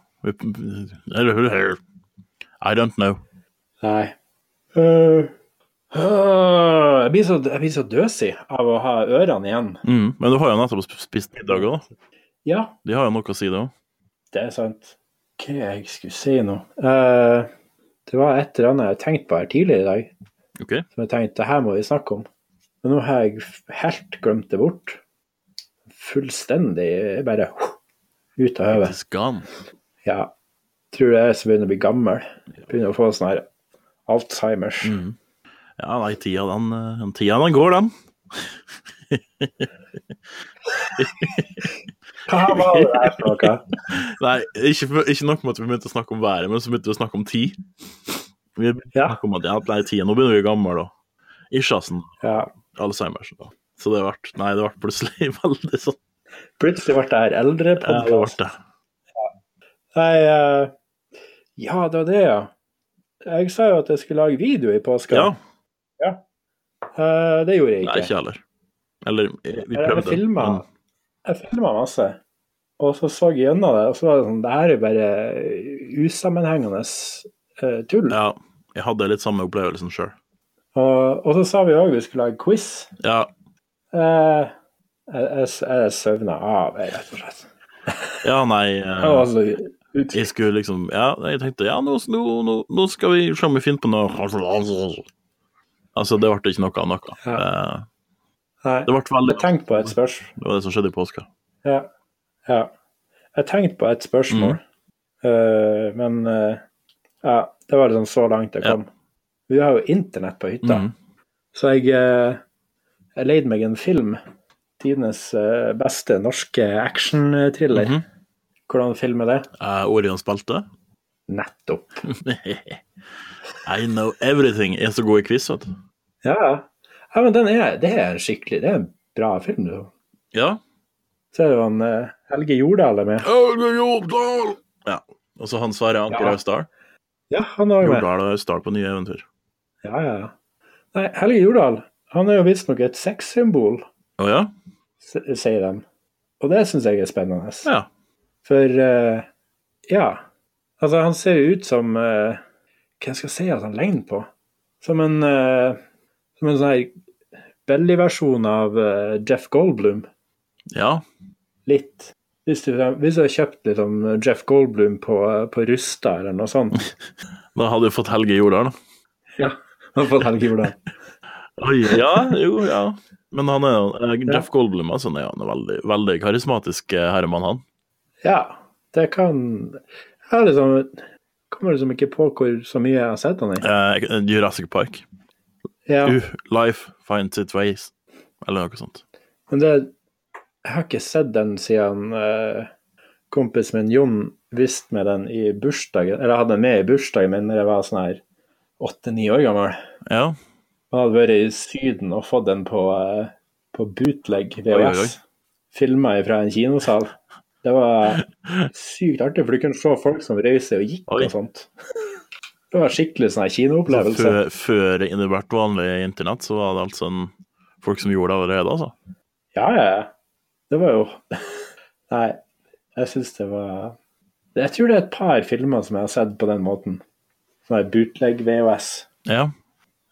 Speaker 2: I don't know.
Speaker 1: Nei. Øh, øh, jeg, blir så, jeg blir så døsig av å ha ørene igjen.
Speaker 2: Mm. Men du har jo nettopp sp- spist middag òg, da.
Speaker 1: Ja,
Speaker 2: De har jo noe å si, det òg.
Speaker 1: det er sant. Hva er det jeg skulle si nå? Eh, det var et eller annet jeg tenkte på her tidligere i dag,
Speaker 2: OK?
Speaker 1: som jeg tenkte det her må vi snakke om. Men nå har jeg f- helt glemt det bort. Fullstendig bare ut av hodet.
Speaker 2: It's gone.
Speaker 1: Ja. Tror det er jeg som begynner å bli gammel. Begynner å få sånn her Alzheimers.
Speaker 2: Mm. Ja, nei, tida den, eh, den, tida, den går, den.
Speaker 1: Hva var det der for noe?
Speaker 2: Nei, ikke, for- ikke nok med at vi begynte å snakke om været, men så begynte vi å snakke om tid. Vi begynte
Speaker 1: Ja.
Speaker 2: å snakke om at ja, nei, tida, nå begynner vi å bli gamle, da. Isjasen,
Speaker 1: Ja.
Speaker 2: Alzheimers. Da. Så det ble, nei, det ble plutselig veldig sånn.
Speaker 1: Plutselig ble det her eldre
Speaker 2: Ja, det ble det.
Speaker 1: Nei, eh, ja, det var det, ja. Jeg sa jo at jeg skulle lage video i påska.
Speaker 2: Ja,
Speaker 1: Eh, det gjorde jeg
Speaker 2: nei,
Speaker 1: ikke.
Speaker 2: ikke jeg heller. Eller, eh, vi
Speaker 1: Jeg- jeg
Speaker 2: prøvde.
Speaker 1: filmet.
Speaker 2: men-
Speaker 1: Jeg filma masse, og så så jeg gjennom det, og så var det sånn Det her er bare usammenhengende eh, tull.
Speaker 2: Ja, jeg hadde litt samme opplevelsen sjøl.
Speaker 1: Og, og så sa vi òg vi skulle lage quiz.
Speaker 2: Ja,
Speaker 1: Eh, jeg jeg, jeg søvna av, jeg, rett og slett.
Speaker 2: ja, nei eh,
Speaker 1: Jeg var så ut...
Speaker 2: Jeg skulle liksom Ja, jeg tenkte ja, nå, nå, nå, nå skal vi se om vi finner på noe Altså, det ble ikke noe av noe.
Speaker 1: Ja.
Speaker 2: Eh,
Speaker 1: Nei,
Speaker 2: Det ble veldig
Speaker 1: jeg tenkte på et spørsmål.
Speaker 2: Det var det som skjedde i påska.
Speaker 1: Ja. ja. Jeg tenkte på et spørsmål,
Speaker 2: Mm.
Speaker 1: Eh, men eh, ja, det var liksom så langt jeg
Speaker 2: Ja.
Speaker 1: kom. Vi har jo internett på hytta,
Speaker 2: Mhm.
Speaker 1: så jeg, eh, jeg leide meg en film. Tidenes eh, beste norske action-thriller.
Speaker 2: Mhm.
Speaker 1: Hvordan film er det?
Speaker 2: Eh, Orions belte.
Speaker 1: Nettopp.
Speaker 2: I know everything. Jeg er så god i quiz, vet du.
Speaker 1: Ja, ja. ja men den er, det er en skikkelig Det er en bra film, du.
Speaker 2: Ja.
Speaker 1: Så er det jo han eh, Helge Jordal er med.
Speaker 2: Helge Jordal! Ja. Og så han Sverre Anker
Speaker 1: Ja.
Speaker 2: Austdal.
Speaker 1: Ja, han er også med.
Speaker 2: Jordal og Austdal på nye eventyr.
Speaker 1: Ja, ja, ja. Nei, Helge Jordal, han er jo visstnok et sexsymbol.
Speaker 2: Å ja?
Speaker 1: s- sier de. Og det syns jeg er spennende.
Speaker 2: Ja.
Speaker 1: For eh, ja. Altså, han ser jo ut som eh, Hvem skal jeg si at han ligner på? Som en, eh, som en sånn her belly-versjon av eh, Jeff Goldblum.
Speaker 2: ja.
Speaker 1: Litt. Hvis du, hvis du har kjøpt litt om Jeff Goldblum på, eh, på Rusta eller noe sånt.
Speaker 2: Da hadde vi fått Helge Jordal, da.
Speaker 1: Ja. Han har fått Helge Jordal.
Speaker 2: Oi, ja, jo, ja. Men han er jo eh,
Speaker 1: Ja.
Speaker 2: Jeff Goldblum altså, han er jo en veldig, veldig karismatisk eh, herremann, han.
Speaker 1: Ja, det kan Jeg har liksom Kommer liksom ikke på hvor så mye jeg har sett han i.
Speaker 2: Eh, Jurassic Park.
Speaker 1: Ja.
Speaker 2: Uh, life finds its ways. Eller noe sånt.
Speaker 1: Men det, jeg har ikke sett den siden eh, kompisen min Jon viste meg den i bursdagen, eller jeg hadde den med i bursdagen min da jeg var sånn her åtte-ni år gammel.
Speaker 2: Ja.
Speaker 1: Han hadde vært i Syden og fått den på, eh, på bootleg
Speaker 2: Oi, oi, oi.
Speaker 1: VHS. Filma fra en kinosal. Det var sykt artig, for du kunne se folk som røyse og gikk
Speaker 2: Oi.
Speaker 1: og sånt. Det var skikkelig sånn her
Speaker 2: Så
Speaker 1: kinoopplevelse.
Speaker 2: før, før det ble vanlig internett, så var det altså en, folk som gjorde det allerede, altså.
Speaker 1: Ja, ja, ja. Det var jo Nei, jeg syns det var Jeg tror det er et par filmer som jeg har sett på den måten. Sånn her bootleg VHS.
Speaker 2: Ja.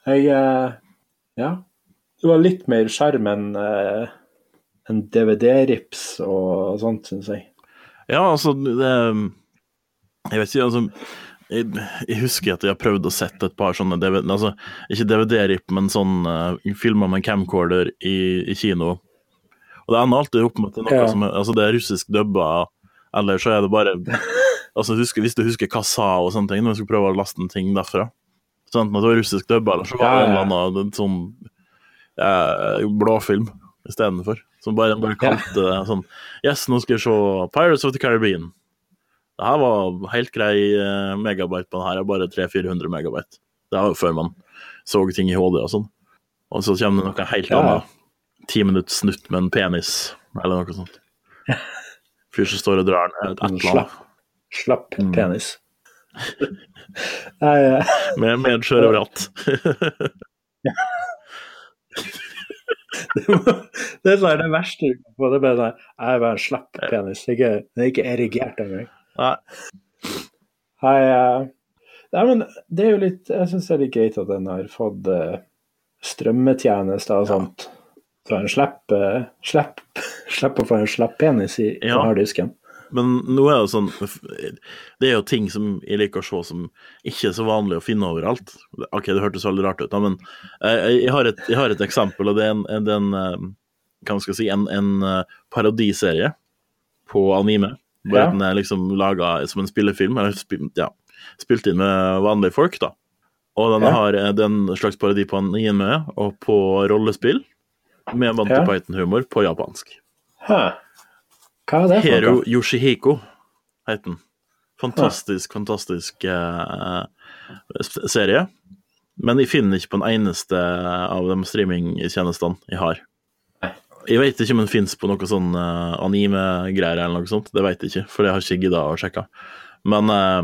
Speaker 1: Jeg eh, Ja. Det var litt mer skjerm enn eh, enn DVD-rips og sånt, syns jeg.
Speaker 2: Ja, altså det, Jeg vet ikke, altså jeg, jeg husker at jeg har prøvd å sette et par sånne DVD, altså, Ikke DVD-rip, men sånn uh, filmer med camcorder i, i kino. Og det ender alltid opp med at det er noe
Speaker 1: Ja.
Speaker 2: som er, altså, det er russisk dubba, eller så er det bare altså, husker, Hvis du husker Kasa og sånne ting, når vi skulle prøve å laste en ting derfra Så enten at det var russisk dubba, eller så var det
Speaker 1: Ja, ja.
Speaker 2: en eller annen sånn eh, blåfilm istedenfor. Som bare, bare kalte det sånn Yes, nå skal vi se Pirates of the Caribbean. Det her var helt grei eh, megabyte på den her, bare 300-400 megabyte. Det var jo før man så ting i HD og sånn. Og så kommer det noe helt
Speaker 1: Ja.
Speaker 2: annet. Ti minutts snutt med en penis, eller noe sånt. Fyr som står og drar ned et eller annet.
Speaker 1: Slapp penis. Nei, eh,
Speaker 2: Med medskjør overalt.
Speaker 1: det er sånn det verste du kan få. Det er bare sånn Jeg er bare en slapp penis. Ikke, den er ikke erigert engang.
Speaker 2: Nei,
Speaker 1: Hei, eh, nei, men det er jo litt Jeg syns det er litt greit at en har fått eh, strømmetjenester og sånt. Så en slipper eh, slipp, slipper å få en slapp penis i
Speaker 2: Ja.
Speaker 1: på harddisken.
Speaker 2: men nå er det sånn Det er jo ting som jeg liker å se som ikke er så vanlig å finne overalt. Ok, det hørtes veldig rart ut, da, men eh, jeg, jeg, har et, jeg har et eksempel, og det er en, en- det er en eh, Hva man skal si En, en eh, parodiserie på anime. Bare
Speaker 1: Ja.
Speaker 2: at den er liksom laga som en spillefilm, eller spi- ja, spilt inn med vanlige folk, da. Og den
Speaker 1: Ja.
Speaker 2: har eh, det er en slags parodi på anime og på rollespill med Monty
Speaker 1: Ja.
Speaker 2: Python-humor på japansk.
Speaker 1: Hæ? Hva er det for
Speaker 2: Hero
Speaker 1: noe?
Speaker 2: Yoshihiko het den. Fantastisk, fantastisk eh, s- serie. Men jeg finner ikke på en eneste av de streamingtjenestene jeg har. Jeg vet ikke om den fins på noe sånn eh, anime-greier eller noe sånt. Det vet jeg ikke, for det har ikke gidda å sjekke. Men eh,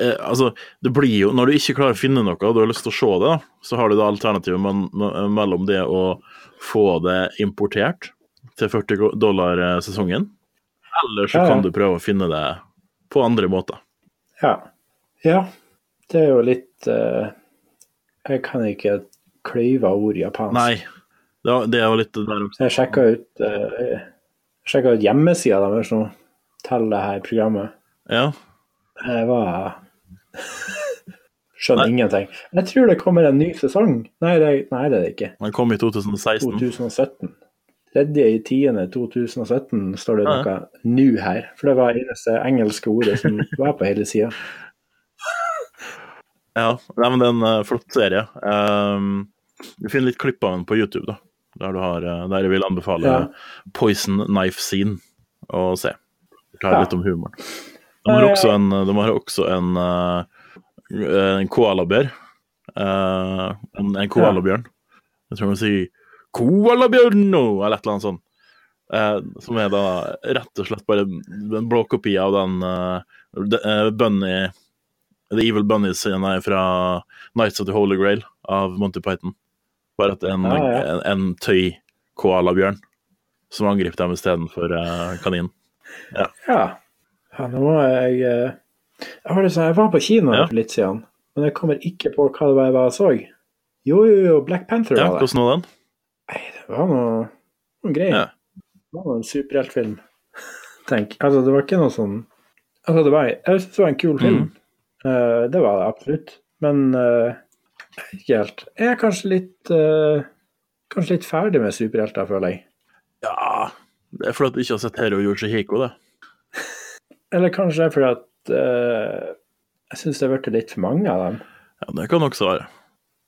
Speaker 2: eh, altså, det blir jo Når du ikke klarer å finne noe og du har lyst til å se det, da, så har du da alternativet men- me- mellom det å få det importert til 40 dollar eh, sesongen, eller så
Speaker 1: Ja, ja.
Speaker 2: kan du prøve å finne det på andre måter.
Speaker 1: Ja. ja. Det er jo litt eh, Jeg kan ikke kløyve ord japansk.
Speaker 2: Nei, det er- det er jo litt det der også.
Speaker 1: Så jeg sjekka ut, uh, ut hjemmesida deres nå, til det her programmet.
Speaker 2: Ja.
Speaker 1: Jeg var Skjønner
Speaker 2: Nei.
Speaker 1: ingenting. Jeg tror det kommer en ny sesong. Nei, det, nei, det er det ikke.
Speaker 2: Den kom i 2016.
Speaker 1: 2017. 3.10.2017 står det
Speaker 2: Ja, ja.
Speaker 1: noe new her. For det var eneste engelske ordet som var på hele sida.
Speaker 2: Ja, nei, men det er en eh, flott serie. Ehm, du finner litt klipp av den på YouTube, da. Der, du har, eh, der jeg vil anbefale
Speaker 1: Ja.
Speaker 2: Poison Knife Scene å se. Fortell
Speaker 1: Ja.
Speaker 2: litt om humoren. De har
Speaker 1: Nei,
Speaker 2: også en, de har også en, eh, en koalabjørn. Eh, en, en koalabjørn. Jeg tror man sier 'koalabjørn' nå, eller et eller annet sånt. Eh, som er da rett og slett bare en blåkopi av den eh, de- eh, Bunny The Evil Bunny-scenen fra Nights of the Holy Grail av Monty Python. Bare at det er en,
Speaker 1: Ja, ja.
Speaker 2: en, en tøy-koalabjørn som angriper dem istedenfor uh, kaninen.
Speaker 1: Ja. ja. Nå må jeg eh, Jeg var, det sånn, jeg var på kino
Speaker 2: Ja.
Speaker 1: for litt siden, men jeg kommer ikke på hva det var jeg var og så. Jo, jo, jo, Black Panther
Speaker 2: Ja,
Speaker 1: var det.
Speaker 2: hvordan var den?
Speaker 1: Nei, det var noe, noe greier.
Speaker 2: Ja.
Speaker 1: Det var en superheltfilm. Tenk. Altså, det var ikke noe sånn Altså, det var, jeg synes det var en kul film. Eh, det var det absolutt. Men eh, ikke helt. Jeg er kanskje litt eh, Kanskje litt ferdig med superhelter, føler jeg.
Speaker 2: Ja Det er fordi at du ikke har sett Hero Yoshihiko, det.
Speaker 1: Eller kanskje det er fordi at eh, jeg syns det har blitt litt for mange av dem.
Speaker 2: Ja, Det kan også være.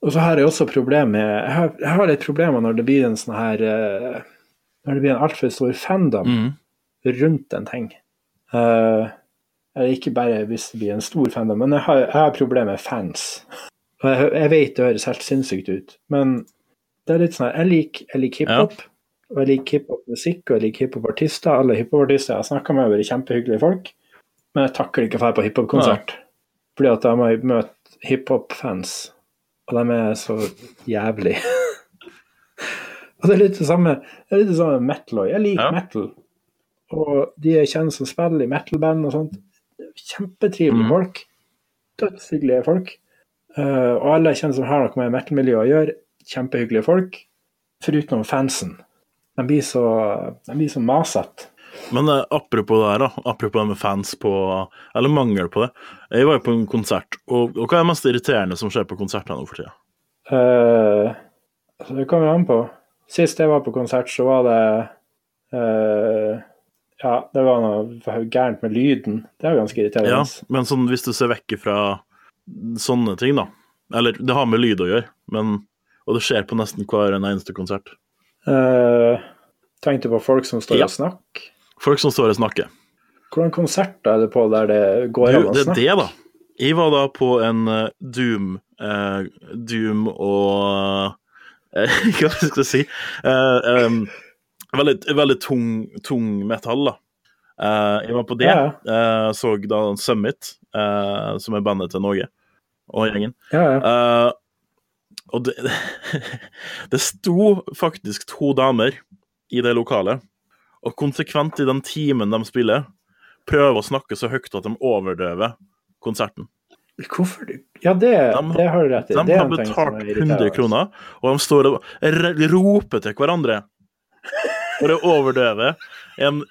Speaker 1: Og så har jeg også problem med Jeg har, jeg har litt problemer når det blir en sånn her eh, Når det blir en altfor stor fandom.
Speaker 2: Mhm.
Speaker 1: rundt en ting. Eh, eller ikke bare hvis det blir en stor fandom, men jeg har, jeg har problemer med fans. Og jeg, jeg vet det høres helt sinnssykt ut, men det er litt sånn her Jeg liker jeg liker hiphop, og jeg liker hiphop-musikk, og jeg liker hiphop-artister. Alle hiphop-artister jeg har snakka med, har vært kjempehyggelige folk, men jeg takler ikke å dra på hiphop-konsert. Fordi at da må jeg møte hiphop-fans, og de er så jævlig. og det er litt det samme det er litt det samme med metal òg. Jeg liker
Speaker 2: Ja.
Speaker 1: metal. Og de jeg kjenner som spiller i metal-band og sånt, det er kjempetrivelige
Speaker 2: Mm.
Speaker 1: folk. Dødshyggelige folk. Eh, og alle jeg kjenner som har noe med metal-miljøet å gjøre, kjempehyggelige folk. Foruten fansen. De blir så, de blir så masete.
Speaker 2: Men eh, apropos det her, da. Apropos det med fans på Eller mangel på det. Jeg var jo på en konsert, og, og hva er det mest irriterende som skjer på konserter nå for tida?
Speaker 1: Eh, altså, det kommer an på. Sist jeg var på konsert, så var det eh, Ja, det var noe gærent med lyden. Det er jo ganske irriterende.
Speaker 2: Ja, men sånn hvis du ser vekk ifra sånne ting, da. Eller det har med lyd å gjøre, men Og det skjer på nesten hver en eneste konsert.
Speaker 1: Eh, tenkte på folk som står
Speaker 2: Ja.
Speaker 1: og snakker.
Speaker 2: Folk som står og snakker.
Speaker 1: Hvordan konserter er det på der det går an
Speaker 2: Du,
Speaker 1: å
Speaker 2: det er
Speaker 1: snakke?
Speaker 2: det, da. Jeg var da på en eh, Doom eh, Doom og eh, Hva skal jeg si? Eh, em, veldig veldig tung, tung metall, da. Eh, jeg var på det.
Speaker 1: Ja,
Speaker 2: Eh, så da Summit, eh, som er bandet til Norge og gjengen.
Speaker 1: ja, ja.
Speaker 2: Eh, og det, det sto faktisk to damer i det lokalet, og konsekvent i den timen de spiller, prøver å snakke så høyt at de overdøver konserten.
Speaker 1: Hvorfor du Ja, det,
Speaker 2: De-
Speaker 1: det har du rett i.
Speaker 2: De
Speaker 1: det er
Speaker 2: har
Speaker 1: en ting som er
Speaker 2: betalt
Speaker 1: irriterende.
Speaker 2: 100 kroner, og de står og r- roper til hverandre. For å overdøve en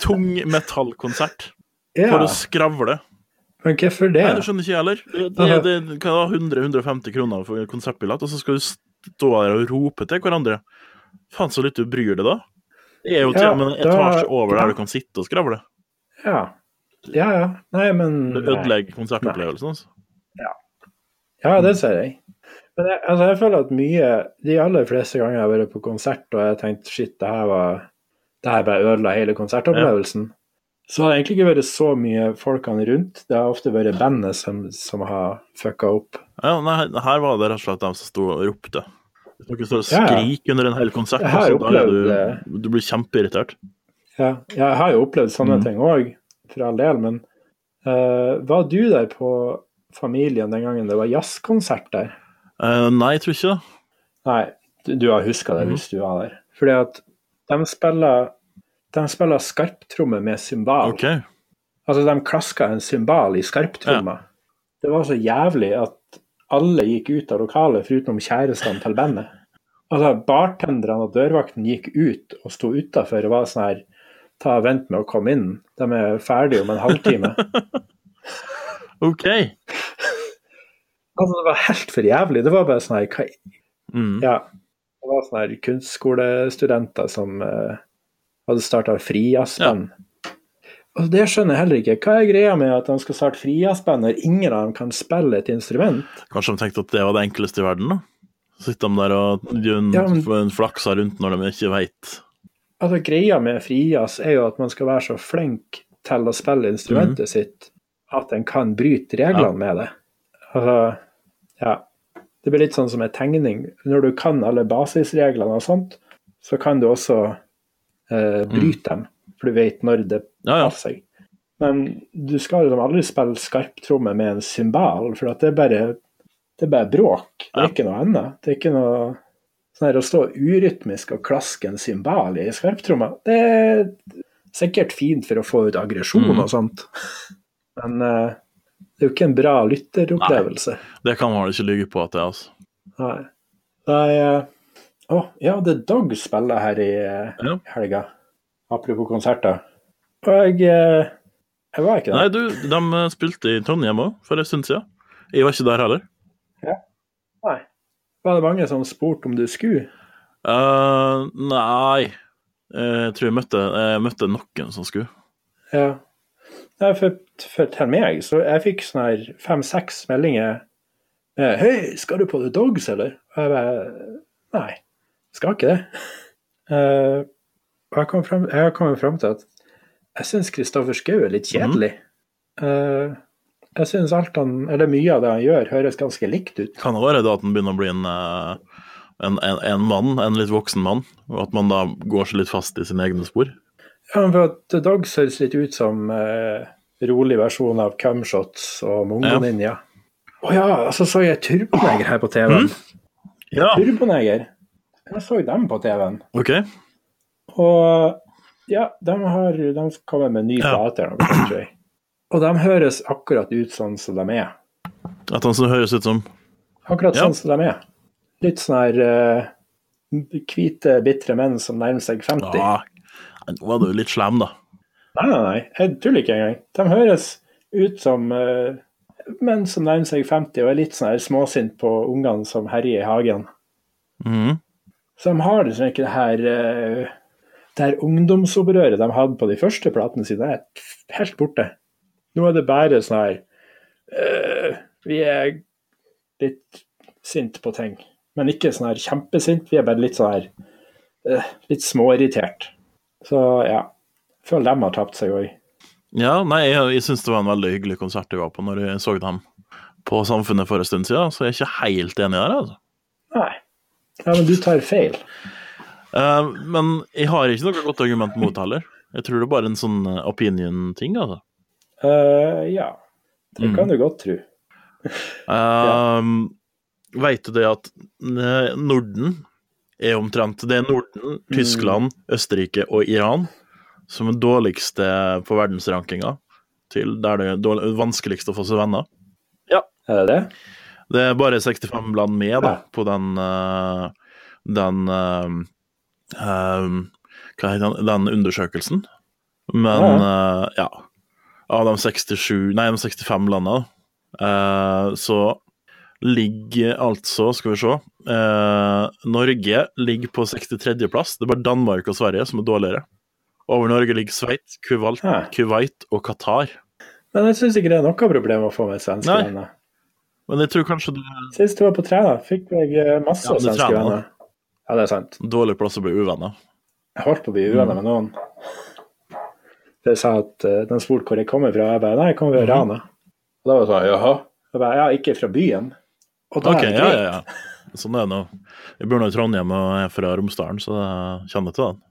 Speaker 2: tung metallkonsert.
Speaker 1: Ja,
Speaker 2: For å skravle.
Speaker 1: men hvorfor det?
Speaker 2: Nei, det skjønner ikke jeg heller. Det, det, det, kan ha 100-150 kroner for en konsertbillett, og så skal du stå her og rope til hverandre. Faen så lite du bryr deg, da. Det er jo til
Speaker 1: Ja,
Speaker 2: og med en
Speaker 1: da-
Speaker 2: etasje over der du kan sitte og skravle.
Speaker 1: Ja. ja, ja. Nei, men
Speaker 2: Det
Speaker 1: nei.
Speaker 2: ødelegger konsertopplevelsen. Altså.
Speaker 1: Ja, det ser jeg. Men jeg, altså, jeg føler at mye De aller fleste ganger jeg har vært på konsert og jeg har tenkt shit, det her var det her bare ødela hele konsertopplevelsen, så har det egentlig ikke vært så mye folkene rundt. Det har ofte vært bandet som, som har fucka opp.
Speaker 2: Ja, nei, her var det rett og slett dem som sto og ropte. Hvis noen står og
Speaker 1: Ja, ja.
Speaker 2: skriker under en hel konsert,
Speaker 1: Jeg har
Speaker 2: altså, da
Speaker 1: opplevd
Speaker 2: er du, du blir kjempeirritert.
Speaker 1: Ja, jeg har jo opplevd sånne
Speaker 2: Mm.
Speaker 1: ting òg, for all del, men eh, var du der på Familien den gangen det var jazzkonsert der?
Speaker 2: Eh, nei, jeg tror ikke det.
Speaker 1: Nei, du, du har huska det
Speaker 2: Mhm.
Speaker 1: hvis du var der. Fordi at de spiller, de spiller skarptromme med cymbal.
Speaker 2: OK.
Speaker 1: Altså, de klaska en cymbal i skarptromma. Det var så jævlig at alle gikk ut av lokalet, foruten kjærestene til bandet. Altså, bartenderne og dørvakten gikk ut og sto utafor og var sånn her Ta og Vent med å komme inn, de er ferdige om en halvtime.
Speaker 2: OK.
Speaker 1: altså, det var helt for jævlig. Det var bare sånn her Hva
Speaker 2: Mm.
Speaker 1: Ja. Det var sånne her kunstskolestudenter som eh, hadde starta frijazzband. Og det skjønner jeg heller ikke. Hva er greia med at de skal starte frijazzband når ingen av dem kan spille et instrument?
Speaker 2: Kanskje de tenkte at det var det enkleste i verden, da. Sitter de der og gjør en,
Speaker 1: Ja, men-
Speaker 2: får en flaksa rundt når de ikke veit
Speaker 1: Altså Greia med frijazz er jo at man skal være så flink til å spille instrumentet sitt at en kan bryte reglene
Speaker 2: Mm. Ja.
Speaker 1: med det. Altså, ja. Det blir litt sånn som en tegning. Når du kan alle basisreglene og sånt, så kan du også
Speaker 2: Mm.
Speaker 1: eh, bryte dem, for du vet når det
Speaker 2: Ja, ja.
Speaker 1: av seg. Men du skal liksom aldri spille skarptromme med en cymbal, for at det er bare, det er bare bråk. Det er
Speaker 2: Ja.
Speaker 1: ikke noe annet. Det er ikke noe sånn her, Å stå urytmisk og klaske en cymbal i skarptromma, det er sikkert fint for å få ut aggresjon
Speaker 2: Mm.
Speaker 1: og sånt, men eh, det er jo ikke en bra lytteropplevelse.
Speaker 2: Det kan man vel ikke lyve på at det er, altså.
Speaker 1: Nei. Nei eh, Å, ja, The Dog spiller her i eh,
Speaker 2: Ja.
Speaker 1: helga. Apropos konserter. Og jeg eh, Jeg var ikke der.
Speaker 2: Nei, du, de eh, spilte i Trondheim òg, for en stund siden. Jeg var ikke der heller.
Speaker 1: Var det mange som spurte om du skulle?
Speaker 2: Eh, nei Eh, Jeg tror jeg møtte, jeg møtte noen som skulle.
Speaker 1: Ja. Nei, for, for til meg, så jeg fikk sånn her fem-seks meldinger med 'Hei, skal du på The Dogs, eller?' Og jeg bare Nei, skal ikke det. Eh, og jeg kom frem- jeg har kommet fram til at jeg syns Kristoffer Schou er litt kjedelig. Eh, jeg syns alt han, eller mye av det han gjør, høres ganske likt ut.
Speaker 2: Kan det være da at en begynner å bli en, eh, en, en, en mann, en litt voksen mann, og at man da går seg litt fast i sine egne spor?
Speaker 1: Ja, men for at The Dogs høres litt ut som eh, rolig versjon av Cumshots og Mongoninja. Å ja, så så jeg Turboneger her på TV-en.
Speaker 2: Mm. Ja,
Speaker 1: Turboneger. Jeg så dem på TV-en.
Speaker 2: OK.
Speaker 1: Og ja, de har de kommer med ny
Speaker 2: Ja.
Speaker 1: plate. eller noe sånt, tror jeg. Og de høres akkurat ut sånn som de er.
Speaker 2: At han så høres ut som
Speaker 1: Akkurat
Speaker 2: Ja.
Speaker 1: sånn som de er. Litt sånn her eh, hvite, bitre menn som nærmer seg 50.
Speaker 2: Ja, «Ah, nå var du litt slem, da.
Speaker 1: Nei, nei, nei. Jeg tuller ikke engang. De høres ut som eh, menn som nærmer seg 50 og er litt sånn her småsint på ungene som herjer i hagen.
Speaker 2: Mhm.
Speaker 1: Så de har liksom ikke det her eh, Det her ungdomsopprøret de hadde på de første platene sine, er f- helt borte. Nå er det bare sånn her eh, Vi er litt sint på ting. Men ikke sånn her kjempesint, vi er bare litt sånn her eh, Litt småirritert. Så ja. Føler de har tapt seg òg.
Speaker 2: Ja, nei, jeg, jeg syns det var en veldig hyggelig konsert jeg var på når jeg så dem på Samfunnet for en stund siden, så jeg er ikke helt enig der, altså.
Speaker 1: Nei. Ja, men du tar feil.
Speaker 2: Eh, men jeg har ikke noe godt argument mot det heller. Jeg tror det er bare en sånn eh, opinion-ting, altså.
Speaker 1: Eh, ja. Det
Speaker 2: Mm.
Speaker 1: kan du godt tro.
Speaker 2: Um, Veit du det at eh, Norden er omtrent Det er Norden, Tyskland, Østerrike og Iran som er dårligste på verdensrankinga til der det er dårlig- vanskeligst å få seg venner.
Speaker 1: Er det det?
Speaker 2: Det er bare 65 land med da,
Speaker 1: Ja.
Speaker 2: på den eh, den eh, eh, hva heter den, den undersøkelsen. Men eh, ja. Av de 67 Nei, de 65 landene, eh, så ligger altså Skal vi se eh, Norge ligger på 63.-plass. Det er bare Danmark og Sverige som er dårligere. Over Norge ligger Sveits, Kuwait,
Speaker 1: Hæ.
Speaker 2: Kuwait og Qatar.
Speaker 1: Men jeg syns ikke det er noe problem å få med svenske
Speaker 2: Nei.
Speaker 1: venner.
Speaker 2: Men jeg tror kanskje det er
Speaker 1: Sist du var på Træna, fikk jeg eh, masse
Speaker 2: Ja, du
Speaker 1: svenske
Speaker 2: trener,
Speaker 1: venner. Ja, det er sant.
Speaker 2: dårlig plass å bli uvenner.
Speaker 1: Jeg holdt på å bli
Speaker 2: Mm.
Speaker 1: uvenner med noen. Jeg sa at eh, De spurte hvor jeg kommer fra. Jeg bare nei, jeg kommer
Speaker 2: Mhm.
Speaker 1: fra Rana. Og da var det sånn jaha? Jeg bare ja, ikke fra byen. Og da
Speaker 2: Ok,
Speaker 1: er det
Speaker 2: ja,
Speaker 1: greit.
Speaker 2: ja, ja. Sånn er det nå. Jeg bor nå i Trondheim og er fra Romsdalen, så jeg kjenner til den.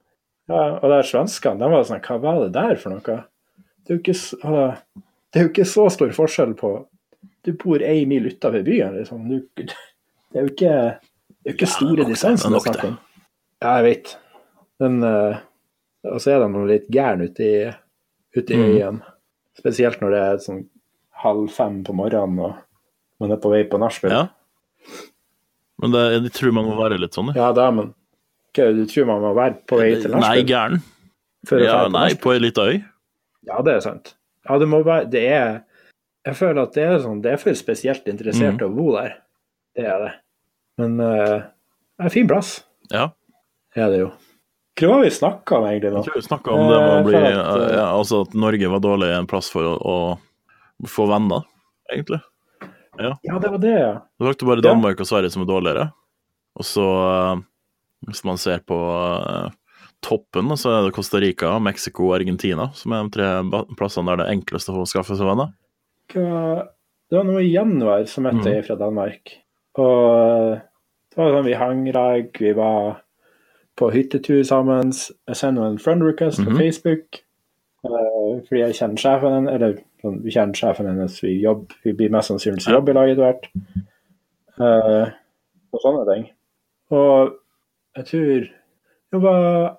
Speaker 1: Ja, og der svenskene, de var sånn Hva var det der for noe? Det er jo ikke, s- altså, det er jo ikke så stor forskjell på Du bor ei mil utenfor byen, liksom. Du, det er jo ikke, det er jo ikke store
Speaker 2: nok det,
Speaker 1: distanser
Speaker 2: det er
Speaker 1: det er
Speaker 2: nok
Speaker 1: snakk om. Ja, jeg vet. Men eh, Og så er de noe litt gærne ute i, ute i
Speaker 2: Mm.
Speaker 1: øyen. Spesielt når det er sånn halv fem på morgenen og man er på vei på nachspiel.
Speaker 2: Ja. Men det, jeg tror man må være litt sånn,
Speaker 1: ja da, men hva er det du tror man må være på vei til
Speaker 2: Nei,
Speaker 1: nachspiel?
Speaker 2: gæren.
Speaker 1: for å
Speaker 2: Ja,
Speaker 1: dra på
Speaker 2: nei, på ei lita øy.
Speaker 1: Ja, det er sant. Ja, det må være Det er Jeg føler at det er sånn Det er for spesielt
Speaker 2: Mhm.
Speaker 1: interesserte å bo der. Det er det. Men eh, det er en fin plass,
Speaker 2: Ja.
Speaker 1: er det jo. Hva var det vi snakka om egentlig nå?
Speaker 2: Jeg tror vi snakka om det med
Speaker 1: Eh,
Speaker 2: å bli
Speaker 1: for at, eh,
Speaker 2: ja, Altså at Norge var dårlig en plass for å, å få venner, egentlig.
Speaker 1: Ja, det var det, ja.
Speaker 2: Det valgte bare
Speaker 1: Ja.
Speaker 2: Danmark og Sverige som er dårligere. Og så, eh, hvis man ser på eh, toppen, så er det Costa Rica, Mexico og Argentina som er de tre ba- plassene der det er enklest å få skaffe seg venner.
Speaker 1: Hva, det var noe i januar som møtte
Speaker 2: Mhm.
Speaker 1: jeg fra Danmark. Og det var sånn vi hang i lag, vi var på hyttetur sammen. Jeg sendte en friend request
Speaker 2: Mhm.
Speaker 1: på Facebook. eh, fordi jeg kjenner sjefen hennes, eller sånn, vi kjenner sjefen hennes, vi, jobb, vi blir mest sannsynligvis
Speaker 2: Ja.
Speaker 1: jobb i lag etter hvert. Eh, og sånne ting. Og jeg tror det var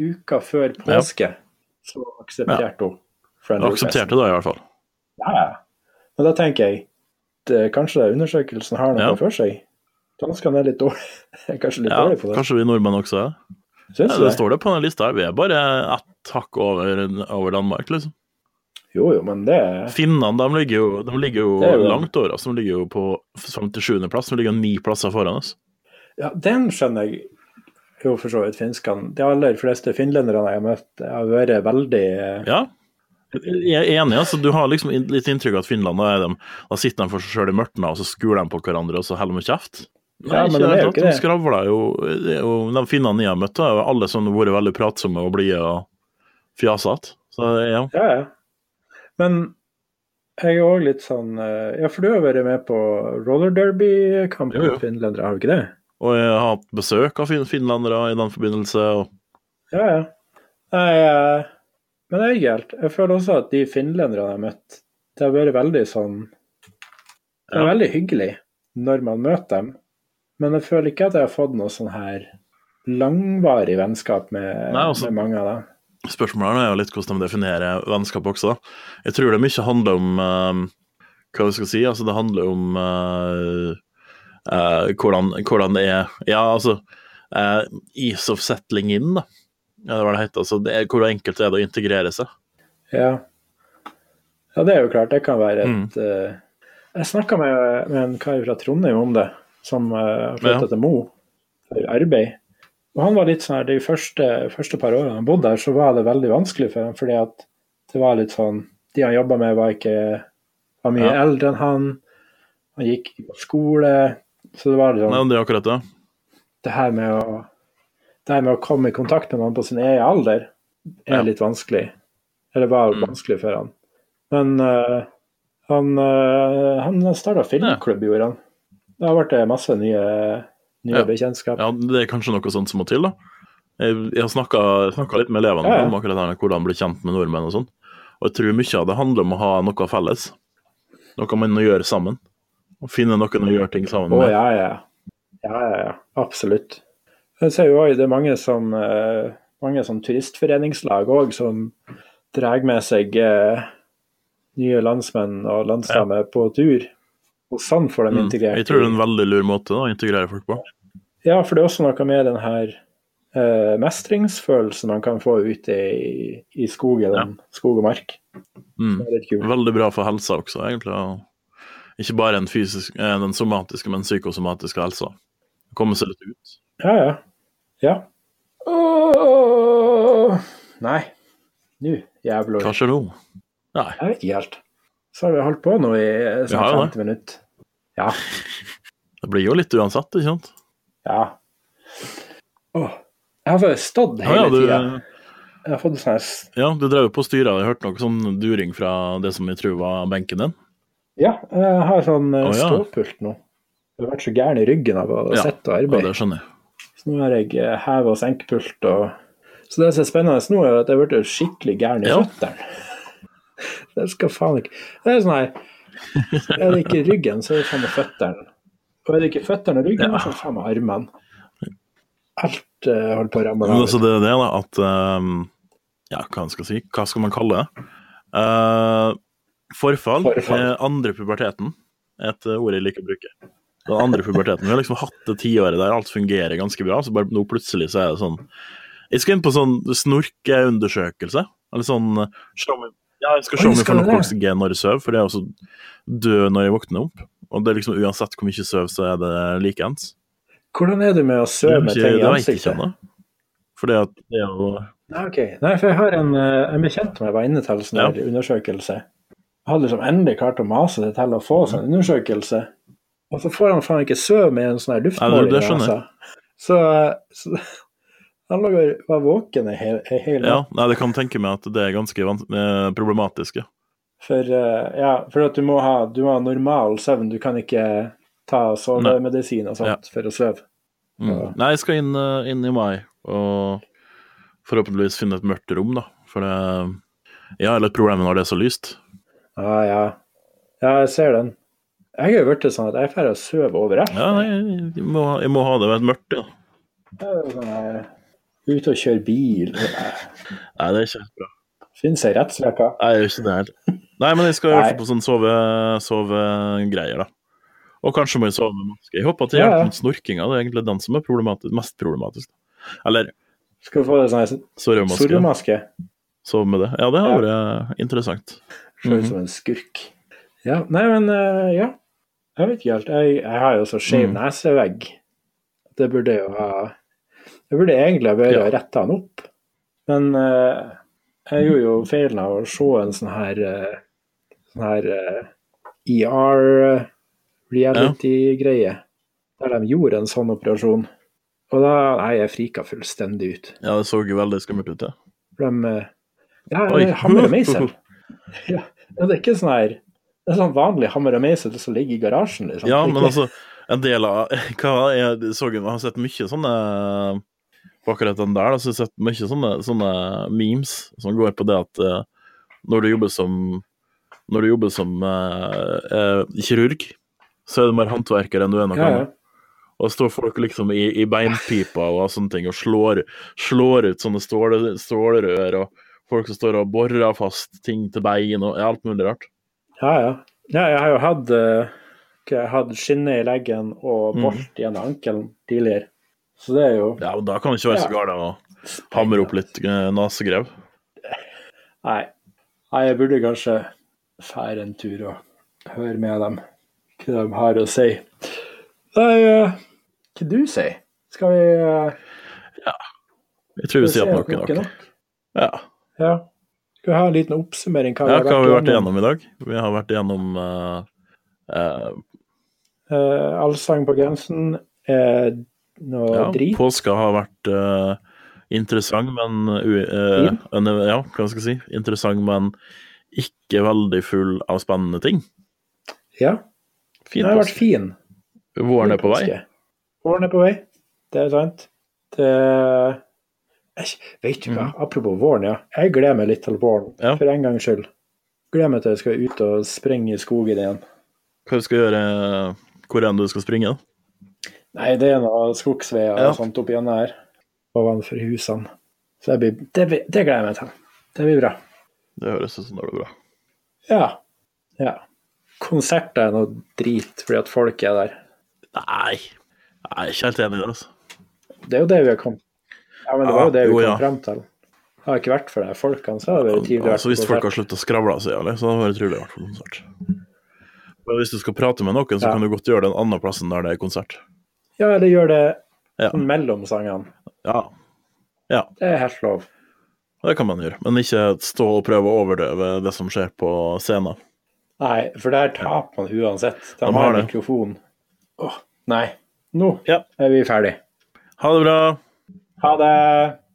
Speaker 1: uka før påske, så aksepterte hun friend
Speaker 2: Jeg
Speaker 1: requesten.
Speaker 2: aksepterte det i hvert fall.
Speaker 1: Ja, ja. Men da tenker jeg det, kanskje det undersøkelsen har noe
Speaker 2: Ja.
Speaker 1: for seg. Danskene er litt dårlige kanskje litt
Speaker 2: Ja,
Speaker 1: dårlig på det.
Speaker 2: kanskje vi nordmenn også er.
Speaker 1: Syns
Speaker 2: Ja,
Speaker 1: du
Speaker 2: det
Speaker 1: det?
Speaker 2: står det på den lista her. Vi er bare ett hakk over, over Danmark, liksom.
Speaker 1: Jo, jo, men det er
Speaker 2: Finnene de ligger jo, de ligger jo,
Speaker 1: Det er jo-
Speaker 2: langt over oss. De ligger jo på 57. plass. De ligger ni plasser foran oss.
Speaker 1: ja, Den skjønner jeg jo for så vidt finskene. De aller fleste finlenderne jeg har møtt, har vært veldig eh,
Speaker 2: Ja. Jeg er enig. altså Du har liksom in- litt inntrykk av at Finland da er dem, da sitter de for seg sjøl i mørket, og så skuler de på hverandre, og så holder de kjeft.
Speaker 1: Ja, men de er jo
Speaker 2: helt
Speaker 1: ikke
Speaker 2: sant. de
Speaker 1: det.
Speaker 2: skravler jo, det er jo De finnene jeg har møtt, har alle sånn vært veldig pratsomme og blide og fjasete. Så ja.
Speaker 1: Ja, ja. Men jeg er òg litt sånn eh, Ja, for du har vært med på roller derby-kamp
Speaker 2: Jo, jo.
Speaker 1: mot finlendere, har du ikke det?
Speaker 2: Og jeg har hatt besøk av fin finlandere i den forbindelse. og
Speaker 1: Ja, ja. Nei, eh, men det er ikke helt. Jeg føler også at de finlenderne jeg har møtt, det har vært veldig sånn Det er veldig hyggelig når man møter dem, men jeg føler ikke at jeg har fått noe sånn her langvarig vennskap med,
Speaker 2: Nei, altså-
Speaker 1: med mange av dem.
Speaker 2: Spørsmålet her nå er jo litt hvordan de definerer vennskap også. da. Jeg tror det mye handler om eh, Hva vi skal si? Altså, det handler om eh, eh, hvordan, hvordan det er Ja, altså eh, Ease of settling in, da. Ja, det var det het. Altså, det er, hvor enkelt er det å integrere seg?
Speaker 1: Ja. ja, det er jo klart. Det kan være
Speaker 2: Mm.
Speaker 1: et eh, Jeg snakka med, med en kar fra Trondheim om det, som uh, flytta
Speaker 2: Ja.
Speaker 1: til Mo for arbeid. Og han var litt sånn her, De første, første par årene han bodde der, så var det veldig vanskelig for ham. Fordi at det var litt sånn De han jobba med, var ikke var mye
Speaker 2: Ja.
Speaker 1: eldre enn han. Han gikk ikke på skole. Så det var litt sånn
Speaker 2: Nei, det er akkurat det.
Speaker 1: det her med å, det her med å komme i kontakt med noen på sin egen alder er
Speaker 2: Ja.
Speaker 1: litt vanskelig. Eller var
Speaker 2: Mm.
Speaker 1: vanskelig for han. Men eh, han, uh, han starta filmklubb, gjorde han. Da ble det masse nye, nye
Speaker 2: Ja.
Speaker 1: bekjentskap.
Speaker 2: Ja, det er kanskje noe sånt som må til, da. Jeg, jeg har snakka litt med elevene
Speaker 1: Ja, ja.
Speaker 2: om akkurat det her med hvordan bli kjent med nordmenn og sånn. Og jeg tror mye av det handler om å ha noe felles. Noe man gjør sammen. Å finne noen å gjøre ting sammen
Speaker 1: Å
Speaker 2: med.
Speaker 1: ja, ja. Ja, ja, ja. Absolutt. Jeg ser jo også det er mange som, eh, mange som turistforeningslag òg, som drar med seg eh, nye landsmenn og landsdamer på tur. Og sånn får de
Speaker 2: Mm.
Speaker 1: integrert.
Speaker 2: Jeg tror det er en veldig lur måte da, å integrere folk på.
Speaker 1: Ja, for det er også noe med den her eh, mestringsfølelsen man kan få ute i, i skogen, skog og mark.
Speaker 2: Mm.
Speaker 1: Det er litt kult.
Speaker 2: Veldig bra for helsa også, egentlig. og Ikke bare den, fysisk, eh, den somatiske, men psykosomatiske helsa. Komme seg litt ut.
Speaker 1: Ja, ja. Ja. Åh, nei, nå jævla
Speaker 2: Hva skjer nå? Nei.
Speaker 1: Jeg vet ikke helt. Så har vi holdt på nå i eh,
Speaker 2: Vi har
Speaker 1: sånn
Speaker 2: jo
Speaker 1: 50 minutter. Ja.
Speaker 2: Det blir jo litt uansett, ikke sant?
Speaker 1: ja. Åh, jeg har bare stått
Speaker 2: Ja,
Speaker 1: hele
Speaker 2: ja,
Speaker 1: tida.
Speaker 2: du,
Speaker 1: Jeg har fått sånn her s-
Speaker 2: Ja, du drev jo på styret, jeg hørte noe sånn during fra det som jeg tror var benken din.
Speaker 1: Ja, jeg har sånn eh,
Speaker 2: Å, ja.
Speaker 1: ståpult nå. Jeg har vært så gæren i ryggen av å
Speaker 2: Ja.
Speaker 1: sitte og
Speaker 2: Ja,
Speaker 1: arbeide.
Speaker 2: det skjønner jeg.
Speaker 1: Så nå har jeg eh, heve- og senkepult og Så det som er spennende nå, er jo at jeg ble skikkelig gæren i
Speaker 2: Ja.
Speaker 1: føttene. Det skal faen ikke Det er sånn her Er det ikke ryggen, så er det faen meg føttene. Og er det ikke føttene og ryggen,
Speaker 2: Ja.
Speaker 1: så er det faen meg armene. Alt eh, holder på å ramle
Speaker 2: Men
Speaker 1: av.
Speaker 2: altså det er det, da, at ehm, Ja, hva skal jeg si? Hva skal man kalle det? Eh, forfall,
Speaker 1: Forfall.
Speaker 2: er andre puberteten. Et eh, ord jeg liker å bruke. Den andre puberteten. Vi har liksom hatt det tiåret der alt fungerer ganske bra, så bare nå plutselig så er det sånn Jeg skal inn på sånn snorkeundersøkelse. Eller sånn eh, se om jeg- Ja, jeg skal se
Speaker 1: Oi,
Speaker 2: om jeg
Speaker 1: skal
Speaker 2: får nok
Speaker 1: du det?
Speaker 2: oksygen når jeg sover, for det er også død når jeg våkner opp. Og det er liksom uansett hvor mye jeg sover, så er det likeens.
Speaker 1: Hvordan er det med å søve med
Speaker 2: Det
Speaker 1: ting i
Speaker 2: vet jeg ikke sånn
Speaker 1: ansiktet?
Speaker 2: ennå. For det at det er jo
Speaker 1: Nei, ok. Nei, for jeg har en, eh, en bekjent som jeg var inne til en sånn
Speaker 2: Ja.
Speaker 1: her undersøkelse. Han hadde liksom endelig klart å mase seg til å få sånn undersøkelse. Og så får han faen ikke sove med en sånn her
Speaker 2: Nei,
Speaker 1: luftmåling. altså.
Speaker 2: det- det skjønner jeg.
Speaker 1: Så, så han lå og var våken en hel, en hel
Speaker 2: Ja,
Speaker 1: natt.
Speaker 2: nei, det kan tenke meg at det er ganske van- eh, problematisk. ja.
Speaker 1: For, eh, ja, for at du må, ha, du må ha normal søvn. Du kan ikke ta sovemedisin og sånt
Speaker 2: Ja.
Speaker 1: for å sove. Ja.
Speaker 2: Mm. Nei, jeg skal inn, eh, inn i mai og forhåpentligvis finne et mørkt rom, da. For det Jeg har litt problemer når det er så lyst.
Speaker 1: Ja, ja. Ja, jeg ser den. Jeg har jo blitt sånn at jeg drar og sover overalt.
Speaker 2: Ja, nei, jeg må, jeg må ha det ved et mørkt, ja.
Speaker 1: Det er jo sånn her, Ute og kjøre bil. Det
Speaker 2: Nei, det er ikke helt bra.
Speaker 1: finnes ei rettsleke.
Speaker 2: Nei, jeg gjør ikke det heller. Nei, men jeg skal i hvert fall
Speaker 1: Nei.
Speaker 2: på sånn sove sovegreier, da. Og kanskje må jeg sove med maske. Jeg håper at det
Speaker 1: Ja, ja.
Speaker 2: hjelper mot snorkinga. Det er egentlig den som er problematisk, mest problematisk. Eller
Speaker 1: Skal du få deg sånn
Speaker 2: sorry,
Speaker 1: her
Speaker 2: maske.
Speaker 1: solmaske?
Speaker 2: Sove med det. Ja,
Speaker 1: Ja.
Speaker 2: det har vært eh, interessant.
Speaker 1: Ser ut som en skurk. Ja, nei, men eh, ja. Jeg vet ikke helt. Jeg, jeg har jo så skeiv
Speaker 2: Mm.
Speaker 1: nesevegg. Det burde jeg jo ha Jeg burde egentlig ha vært
Speaker 2: Ja.
Speaker 1: og retta den opp. Men eh, jeg gjorde jo feilen av å se en sånn her eh, sånn her E ER-reality-greie. eh, Der de gjorde en sånn operasjon. Og da Nei, jeg frika fullstendig ut.
Speaker 2: Ja, det så jo veldig skummelt ut, ja.
Speaker 1: For de eh, Ja,
Speaker 2: Oi.
Speaker 1: det er hammer og meisel. Ja, men det er ikke sånn her Det er sånn vanlig hammer og meisel som ligger i garasjen, liksom.
Speaker 2: Ja,
Speaker 1: Det er
Speaker 2: men
Speaker 1: ikke-
Speaker 2: altså, en del av hva Jeg så jeg har sett mye sånne på akkurat den der, da, så jeg har sett mye sånne, sånne memes som går på det at eh, når du jobber som når du jobber som eh, eh, kirurg, så er du mer håndverker enn du er noe
Speaker 1: Ja, ja.
Speaker 2: annet. Og står folk liksom i, i beinpipa og sånne ting og slår, slår ut sånne stål, stålrør, og folk som står og borer fast ting til bein og alt mulig rart.
Speaker 1: Ja, ja. ja jeg har jo hatt, eh, hva jeg har hatt skinne i leggen og
Speaker 2: Mm.
Speaker 1: bolt i en ankel tidligere. Så det er jo
Speaker 2: Ja, men da kan det ikke være så
Speaker 1: Ja.
Speaker 2: galt å hamre opp litt eh, nesegrev.
Speaker 1: Nei. Nei, jeg burde kanskje fære en tur og høre med dem hva de har å si. Nei, eh, hva du sier? Skal vi eh,
Speaker 2: Jeg tror vi sier at noe er nok.
Speaker 1: nok?
Speaker 2: Ja.
Speaker 1: Ja. Skal vi ha en liten oppsummering? Hva,
Speaker 2: ja, hva har vi vært
Speaker 1: gjennom?
Speaker 2: igjennom i dag? Vi har vært igjennom eh, eh,
Speaker 1: Eh, Allsang på grensen er noe
Speaker 2: ja,
Speaker 1: drit.
Speaker 2: Påska har vært eh, interessant, men u- eh,
Speaker 1: Fin.
Speaker 2: en- Ja, hva skal jeg si? Interessant, men ikke veldig full av spennende ting.
Speaker 1: Ja.
Speaker 2: Fin
Speaker 1: Den har vært
Speaker 2: påske.
Speaker 1: fin.
Speaker 2: Våren er på vei.
Speaker 1: Påske. Våren er på vei, det er sant. Det Æsj, Vet du hva, apropos våren, ja. Jeg gleder meg litt til våren,
Speaker 2: Mm. Ja.
Speaker 1: for en gangs skyld. Gleder meg til jeg skal ut og springe i skogen igjen.
Speaker 2: Hva du skal gjøre eh, hvor enn du skal springe? da?
Speaker 1: Nei, det er noen skogsveier
Speaker 2: Ja.
Speaker 1: og sånt oppi gjennom her, ovenfor husene. Så det, blir, det, blir, det gleder jeg meg til. Det blir bra.
Speaker 2: Det høres ut som det blir bra.
Speaker 1: Ja. ja. Konserter er noe drit fordi at folk er der.
Speaker 2: Nei, jeg er ikke helt enig der, altså.
Speaker 1: Det er jo det vi har kommet Ja, men det
Speaker 2: Ja,
Speaker 1: var jo det vi
Speaker 2: jo,
Speaker 1: kom
Speaker 2: ja.
Speaker 1: frem til. Det har ikke vært for de folkene, så hadde det vært tidligere.
Speaker 2: altså hvis folk har sluttet å skravle av seg, eller, så hadde det vært trivelig å være på konsert. Men hvis du skal prate med noen, så
Speaker 1: Ja.
Speaker 2: kan du godt gjøre det en annen plass enn der det er konsert.
Speaker 1: Ja, eller gjør det
Speaker 2: Ja.
Speaker 1: sånn mellom sangene.
Speaker 2: Ja,
Speaker 1: Det er helt lov.
Speaker 2: det kan man gjøre, men ikke stå og prøve å overdøve det som skjer på scenen.
Speaker 1: Nei, for der taper man uansett. De,
Speaker 2: De har
Speaker 1: har
Speaker 2: det.
Speaker 1: mikrofon. Åh, nei. Nå
Speaker 2: Ja.
Speaker 1: er vi ferdig.
Speaker 2: Ha det bra!
Speaker 1: Ha det!